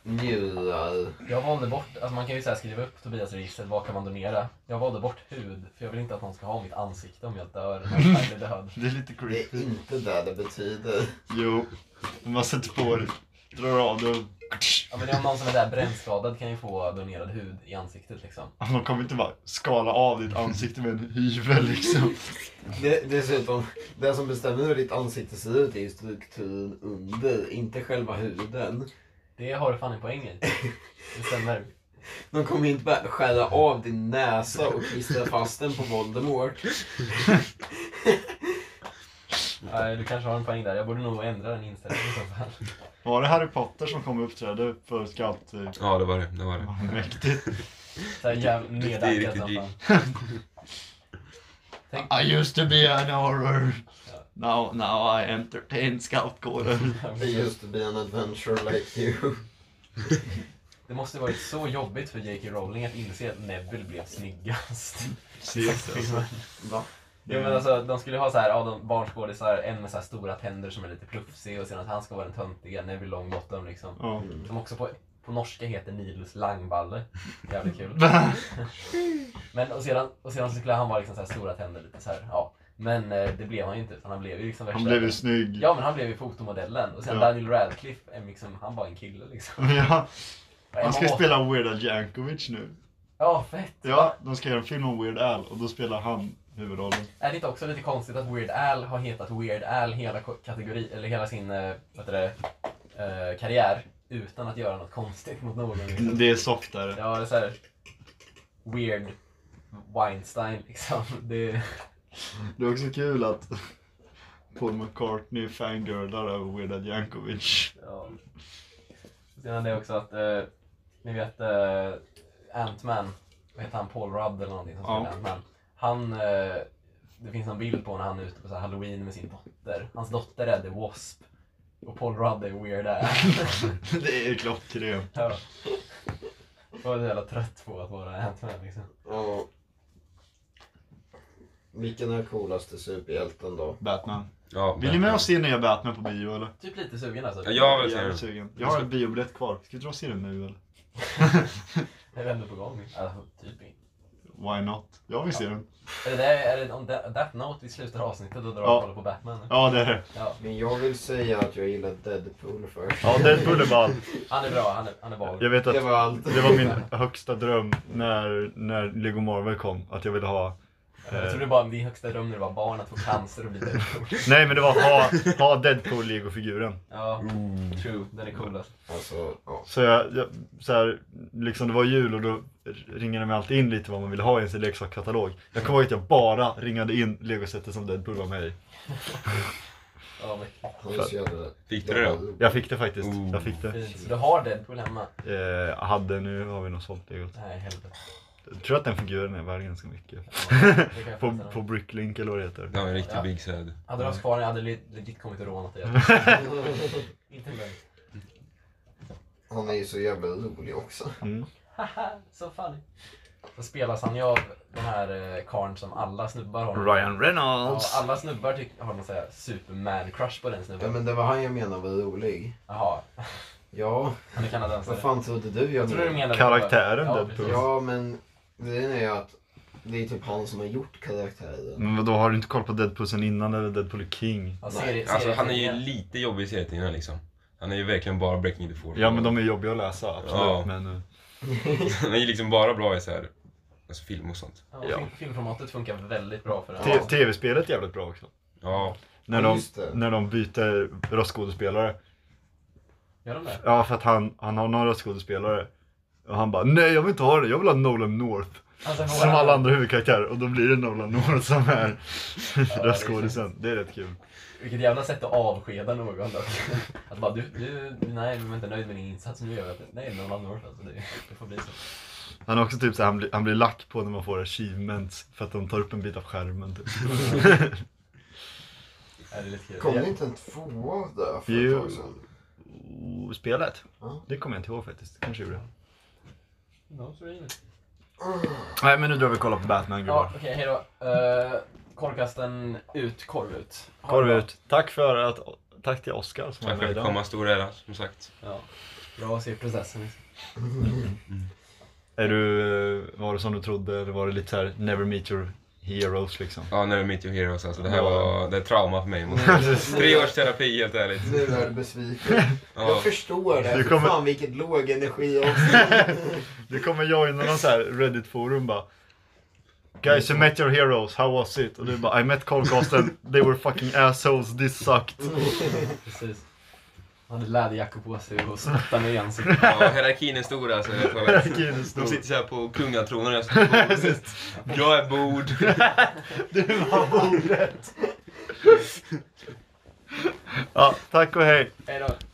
Speaker 1: njurar.
Speaker 3: Jag valde bort, alltså man kan ju så här skriva upp Tobias register, vad kan man donera? Jag valde bort hud, för jag vill inte att någon ska ha mitt ansikte om jag dör. Jag är död.
Speaker 2: Det är
Speaker 1: Det
Speaker 2: lite
Speaker 1: är
Speaker 2: creepy.
Speaker 1: inte det det betyder.
Speaker 2: Jo. Man sätter på det, drar av det och...
Speaker 3: Ja, men om någon som är där brännskadad kan ju få donerad hud i ansiktet liksom.
Speaker 2: Man kommer inte bara skala av ditt ansikte med en hyvel liksom.
Speaker 1: Det, dessutom, det som bestämmer hur ditt ansikte ser ut är ju strukturen under, inte själva huden.
Speaker 3: Det har du fan en poäng i. Det stämmer.
Speaker 1: De kommer ju inte bara skära av din näsa och klistra fast den på Voldemort.
Speaker 3: Nej, Du kanske har en poäng där. Jag borde nog ändra den inställningen i så fall.
Speaker 2: Var det Harry Potter som kom och uppträdde för eh, skatt?
Speaker 4: Ja, det var det. det, var det.
Speaker 2: Mäktigt.
Speaker 3: Så här jävla
Speaker 4: Riktig-
Speaker 3: nedärkad
Speaker 4: riktig
Speaker 3: som
Speaker 4: G.
Speaker 3: fan. Tänk,
Speaker 2: I used to be an horror.
Speaker 3: Ja.
Speaker 2: Now, now I entertain scoutkåren.
Speaker 1: Be used to be an adventure like you.
Speaker 3: det måste varit så jobbigt för J.K. Rowling att inse att Neville blev snyggast.
Speaker 2: alltså.
Speaker 1: Va?
Speaker 3: Jo men alltså de skulle ha så här, ja, de barnskådisar, en med så här stora tänder som är lite plufsig och sen att han ska vara den töntiga, Neville Longbottom liksom.
Speaker 2: Ja.
Speaker 3: Som också på, på norska heter Nilus Langballe. Jävligt kul. Men och sedan, och sedan så skulle han vara liksom så här stora tänder lite så här, ja. Men eh, det blev han ju inte utan han blev ju liksom
Speaker 2: Han blev ju
Speaker 3: värsta-
Speaker 2: snygg.
Speaker 3: Ja men han blev ju fotomodellen och sen
Speaker 2: Ja.
Speaker 3: Daniel Radcliffe, är liksom, han var en kille liksom.
Speaker 2: Ja,
Speaker 3: Emma
Speaker 2: han ska ju
Speaker 3: Wat-
Speaker 2: spela Weird Al Jankovic nu.
Speaker 3: Ja fett!
Speaker 2: Ja, de ska göra en film om Weird Al och då spelar han huvudrollen.
Speaker 3: Är det inte också lite konstigt att Weird Al har hetat Weird Al hela ko- kategori, eller hela sin eh, vad heter det, eh, karriär utan att göra något konstigt mot någon? Liksom.
Speaker 2: Det är softare.
Speaker 3: Ja, det är såhär Weird Weinstein liksom. Det,
Speaker 2: Det är också kul att Paul McCartney fangirlar över Weird Al Jankovic.
Speaker 3: ja. Sen det också att, eh, ni vet eh, Ant-Man, vad heter han, Paul Rudd eller någonting som
Speaker 2: Ja.
Speaker 3: spelar Ant-Man. Han, eh, det finns någon bild på när han är ute på så här halloween med sin dotter. Hans dotter är The Wasp och Paul Rudd är Weird Al.
Speaker 2: Det är klockrent.
Speaker 3: Ja. Jag var så jävla trött på att vara Ant-Man liksom.
Speaker 1: Ja. Vilken är coolaste superhjälten då?
Speaker 2: Batman.
Speaker 4: Ja,
Speaker 2: Vill ni med och se nya Batman på bio eller?
Speaker 3: Typ lite sugen alltså.
Speaker 4: Ja, jag
Speaker 2: Jag är
Speaker 4: vill se
Speaker 2: jävligt
Speaker 4: den.
Speaker 2: sugen. Jag har en biobiljett kvar. Ska vi dra och se den nu eller?
Speaker 3: Det är väl ändå på gång. Alltså, typ inte.
Speaker 2: Why not? Jag vill se den.
Speaker 3: Är det, där- är det on that, that note vi slutar avsnittet och drar
Speaker 2: Ja.
Speaker 3: och kollar på Batman?
Speaker 2: Ja det är det.
Speaker 3: Ja.
Speaker 1: Men jag vill säga att jag gillar Deadpool först.
Speaker 2: Ja Deadpool är ball.
Speaker 3: Han är bra, han är, han är ball.
Speaker 2: Jag vet att
Speaker 1: Det var allt.
Speaker 2: det var min högsta dröm när, när Lego Marvel kom. Att jag ville ha
Speaker 3: Jag trodde bara din högsta dröm när du var barn att få cancer och bli Deadpool.
Speaker 2: Nej men det var ha, ha Deadpool Lego-figuren.
Speaker 3: Ja, true. Den är coolast.
Speaker 1: Alltså, ja.
Speaker 2: Så jag, jag så här, liksom det var jul och då ringade man alltid in lite vad man ville ha i sin leksakskatalog. Jag kommer ihåg att jag bara ringade in legosättet som Deadpool var med i.
Speaker 3: Ja, men
Speaker 1: Han är så jävla...
Speaker 4: Fick du det då?
Speaker 2: Jag fick det faktiskt.
Speaker 4: Ooh.
Speaker 2: Jag fick det.
Speaker 3: fint. Så du har Deadpool hemma?
Speaker 2: Eh, hade, nu har vi något sånt lego.
Speaker 3: Nej, helvete.
Speaker 2: Jag tror att den figuren är värd ganska mycket.
Speaker 3: Ja, det kan jag
Speaker 2: På,
Speaker 3: fatta.
Speaker 2: på Bricklink eller vad det heter.
Speaker 4: Det var en riktig
Speaker 3: Ja.
Speaker 4: big sad.
Speaker 3: Hade du haft kvar den hade jag le- legit kommit och rånat dig. Inte lugnt.
Speaker 1: Han är ju så jävla rolig också.
Speaker 2: Mm.
Speaker 3: Så funny. Så spelas han ju av den här eh, karln som alla snubbar har.
Speaker 2: Ryan
Speaker 3: Ja,
Speaker 2: Reynolds!
Speaker 3: alla snubbar tyck- har någon sån här superman-crush på den
Speaker 1: Ja
Speaker 3: snubben.
Speaker 1: men det var han jag menade var rolig.
Speaker 3: Jaha,
Speaker 1: Ja,
Speaker 3: han är
Speaker 1: vad
Speaker 3: kanadensare.
Speaker 1: fan trodde du jag
Speaker 3: Jag tror du
Speaker 1: menade?
Speaker 3: menar
Speaker 2: Karaktären
Speaker 3: ja,
Speaker 2: Deadpool.
Speaker 3: precis.
Speaker 1: Ja men, grejen är ju att det är typ han som har gjort karaktären.
Speaker 2: Men då har du inte koll på Deadpool sen innan eller Deadpool är King?
Speaker 3: Ja, serie,
Speaker 4: Alltså han är ju
Speaker 3: serietidningar.
Speaker 4: lite jobbig i serietidningarna liksom. Han är ju verkligen bara breaking the fourth.
Speaker 2: Ja men de är jobbiga att läsa, absolut.
Speaker 4: Ja.
Speaker 2: Men, eh,
Speaker 4: Han är ju liksom bara bra i så här, alltså film och sånt.
Speaker 3: Ja, och film- Filmformatet funkar väldigt bra för
Speaker 2: te-
Speaker 3: den.
Speaker 2: Tv-spelet är jävligt bra också.
Speaker 4: Ja,
Speaker 2: När
Speaker 1: Ja,
Speaker 2: de,
Speaker 1: just det.
Speaker 2: när de byter röstskådespelare.
Speaker 3: Gör de det?
Speaker 2: Ja, för att han, han har några skådespelare. Och han bara, nej jag vill inte ha det, jag vill ha Nolan North.
Speaker 3: Alltså,
Speaker 2: Som alla andra huvudkaraktärer. Och då blir det Nolan North som är
Speaker 3: är
Speaker 2: röstskådisen. Det är rätt kul.
Speaker 3: Vilket jävla sätt att avskeda någon dock. Att bara du, du, nej vi var inte nöjd med din insats, nu gör jag det. Nej, någon annan alltså. Det, det får bli så.
Speaker 2: Han är också typ så här, han, blir, han blir lack på när man får achievements. För att de tar upp en bit av skärmen typ.
Speaker 3: Ja, det är lite kul.
Speaker 1: Kom det inte en tvåa av det för ett
Speaker 2: Jo.
Speaker 1: tag sedan?
Speaker 2: Och Oh, Spelet?
Speaker 1: Ja.
Speaker 2: Det kommer jag inte ihåg faktiskt. Kanske gjorde jag.
Speaker 3: No, så är det inget.
Speaker 2: Nej men nu drar vi och kollar på Batman
Speaker 3: Ja,
Speaker 2: gubbar.
Speaker 3: okej, hejdå. Uh, korvkasten ut, korv ut. Ha det
Speaker 2: Korv
Speaker 3: bra.
Speaker 2: ut. Tack för att, tack till Oskar som var
Speaker 4: tack för
Speaker 2: med
Speaker 4: att du
Speaker 2: idag.
Speaker 4: kom, stor ära som sagt.
Speaker 3: Ja. Bra att se processen. liksom.
Speaker 2: Är du, eh, var det som du trodde eller var det lite så här never meet your heroes liksom?
Speaker 4: Ja, Never Meet Your Heroes alltså. Det här
Speaker 2: Ja.
Speaker 4: var det är trauma för mig. Tre års terapi helt ärligt.
Speaker 1: Nu är du besviken.
Speaker 4: Ja.
Speaker 1: Jag förstår det.
Speaker 2: Du
Speaker 1: Fy
Speaker 2: kommer-
Speaker 1: Fan vilket låg energi också.
Speaker 2: Du kommer joina någon så här Reddit-forum bara Guys you met your heroes, how was it? Och du bara I met Carl Carsten, they were fucking assholes, this sucked.
Speaker 3: Precis. Han hade läderjacka på sig och spottade mig i ansiktet.
Speaker 4: Ja, hierarkin är stor alltså. Jag tror att
Speaker 2: Hierarkin är stor.
Speaker 4: De sitter såhär på kungatronen och jag sitter på bordet. Jag är bord.
Speaker 2: Du var bordet! ja, tack och hej.
Speaker 3: Hej då.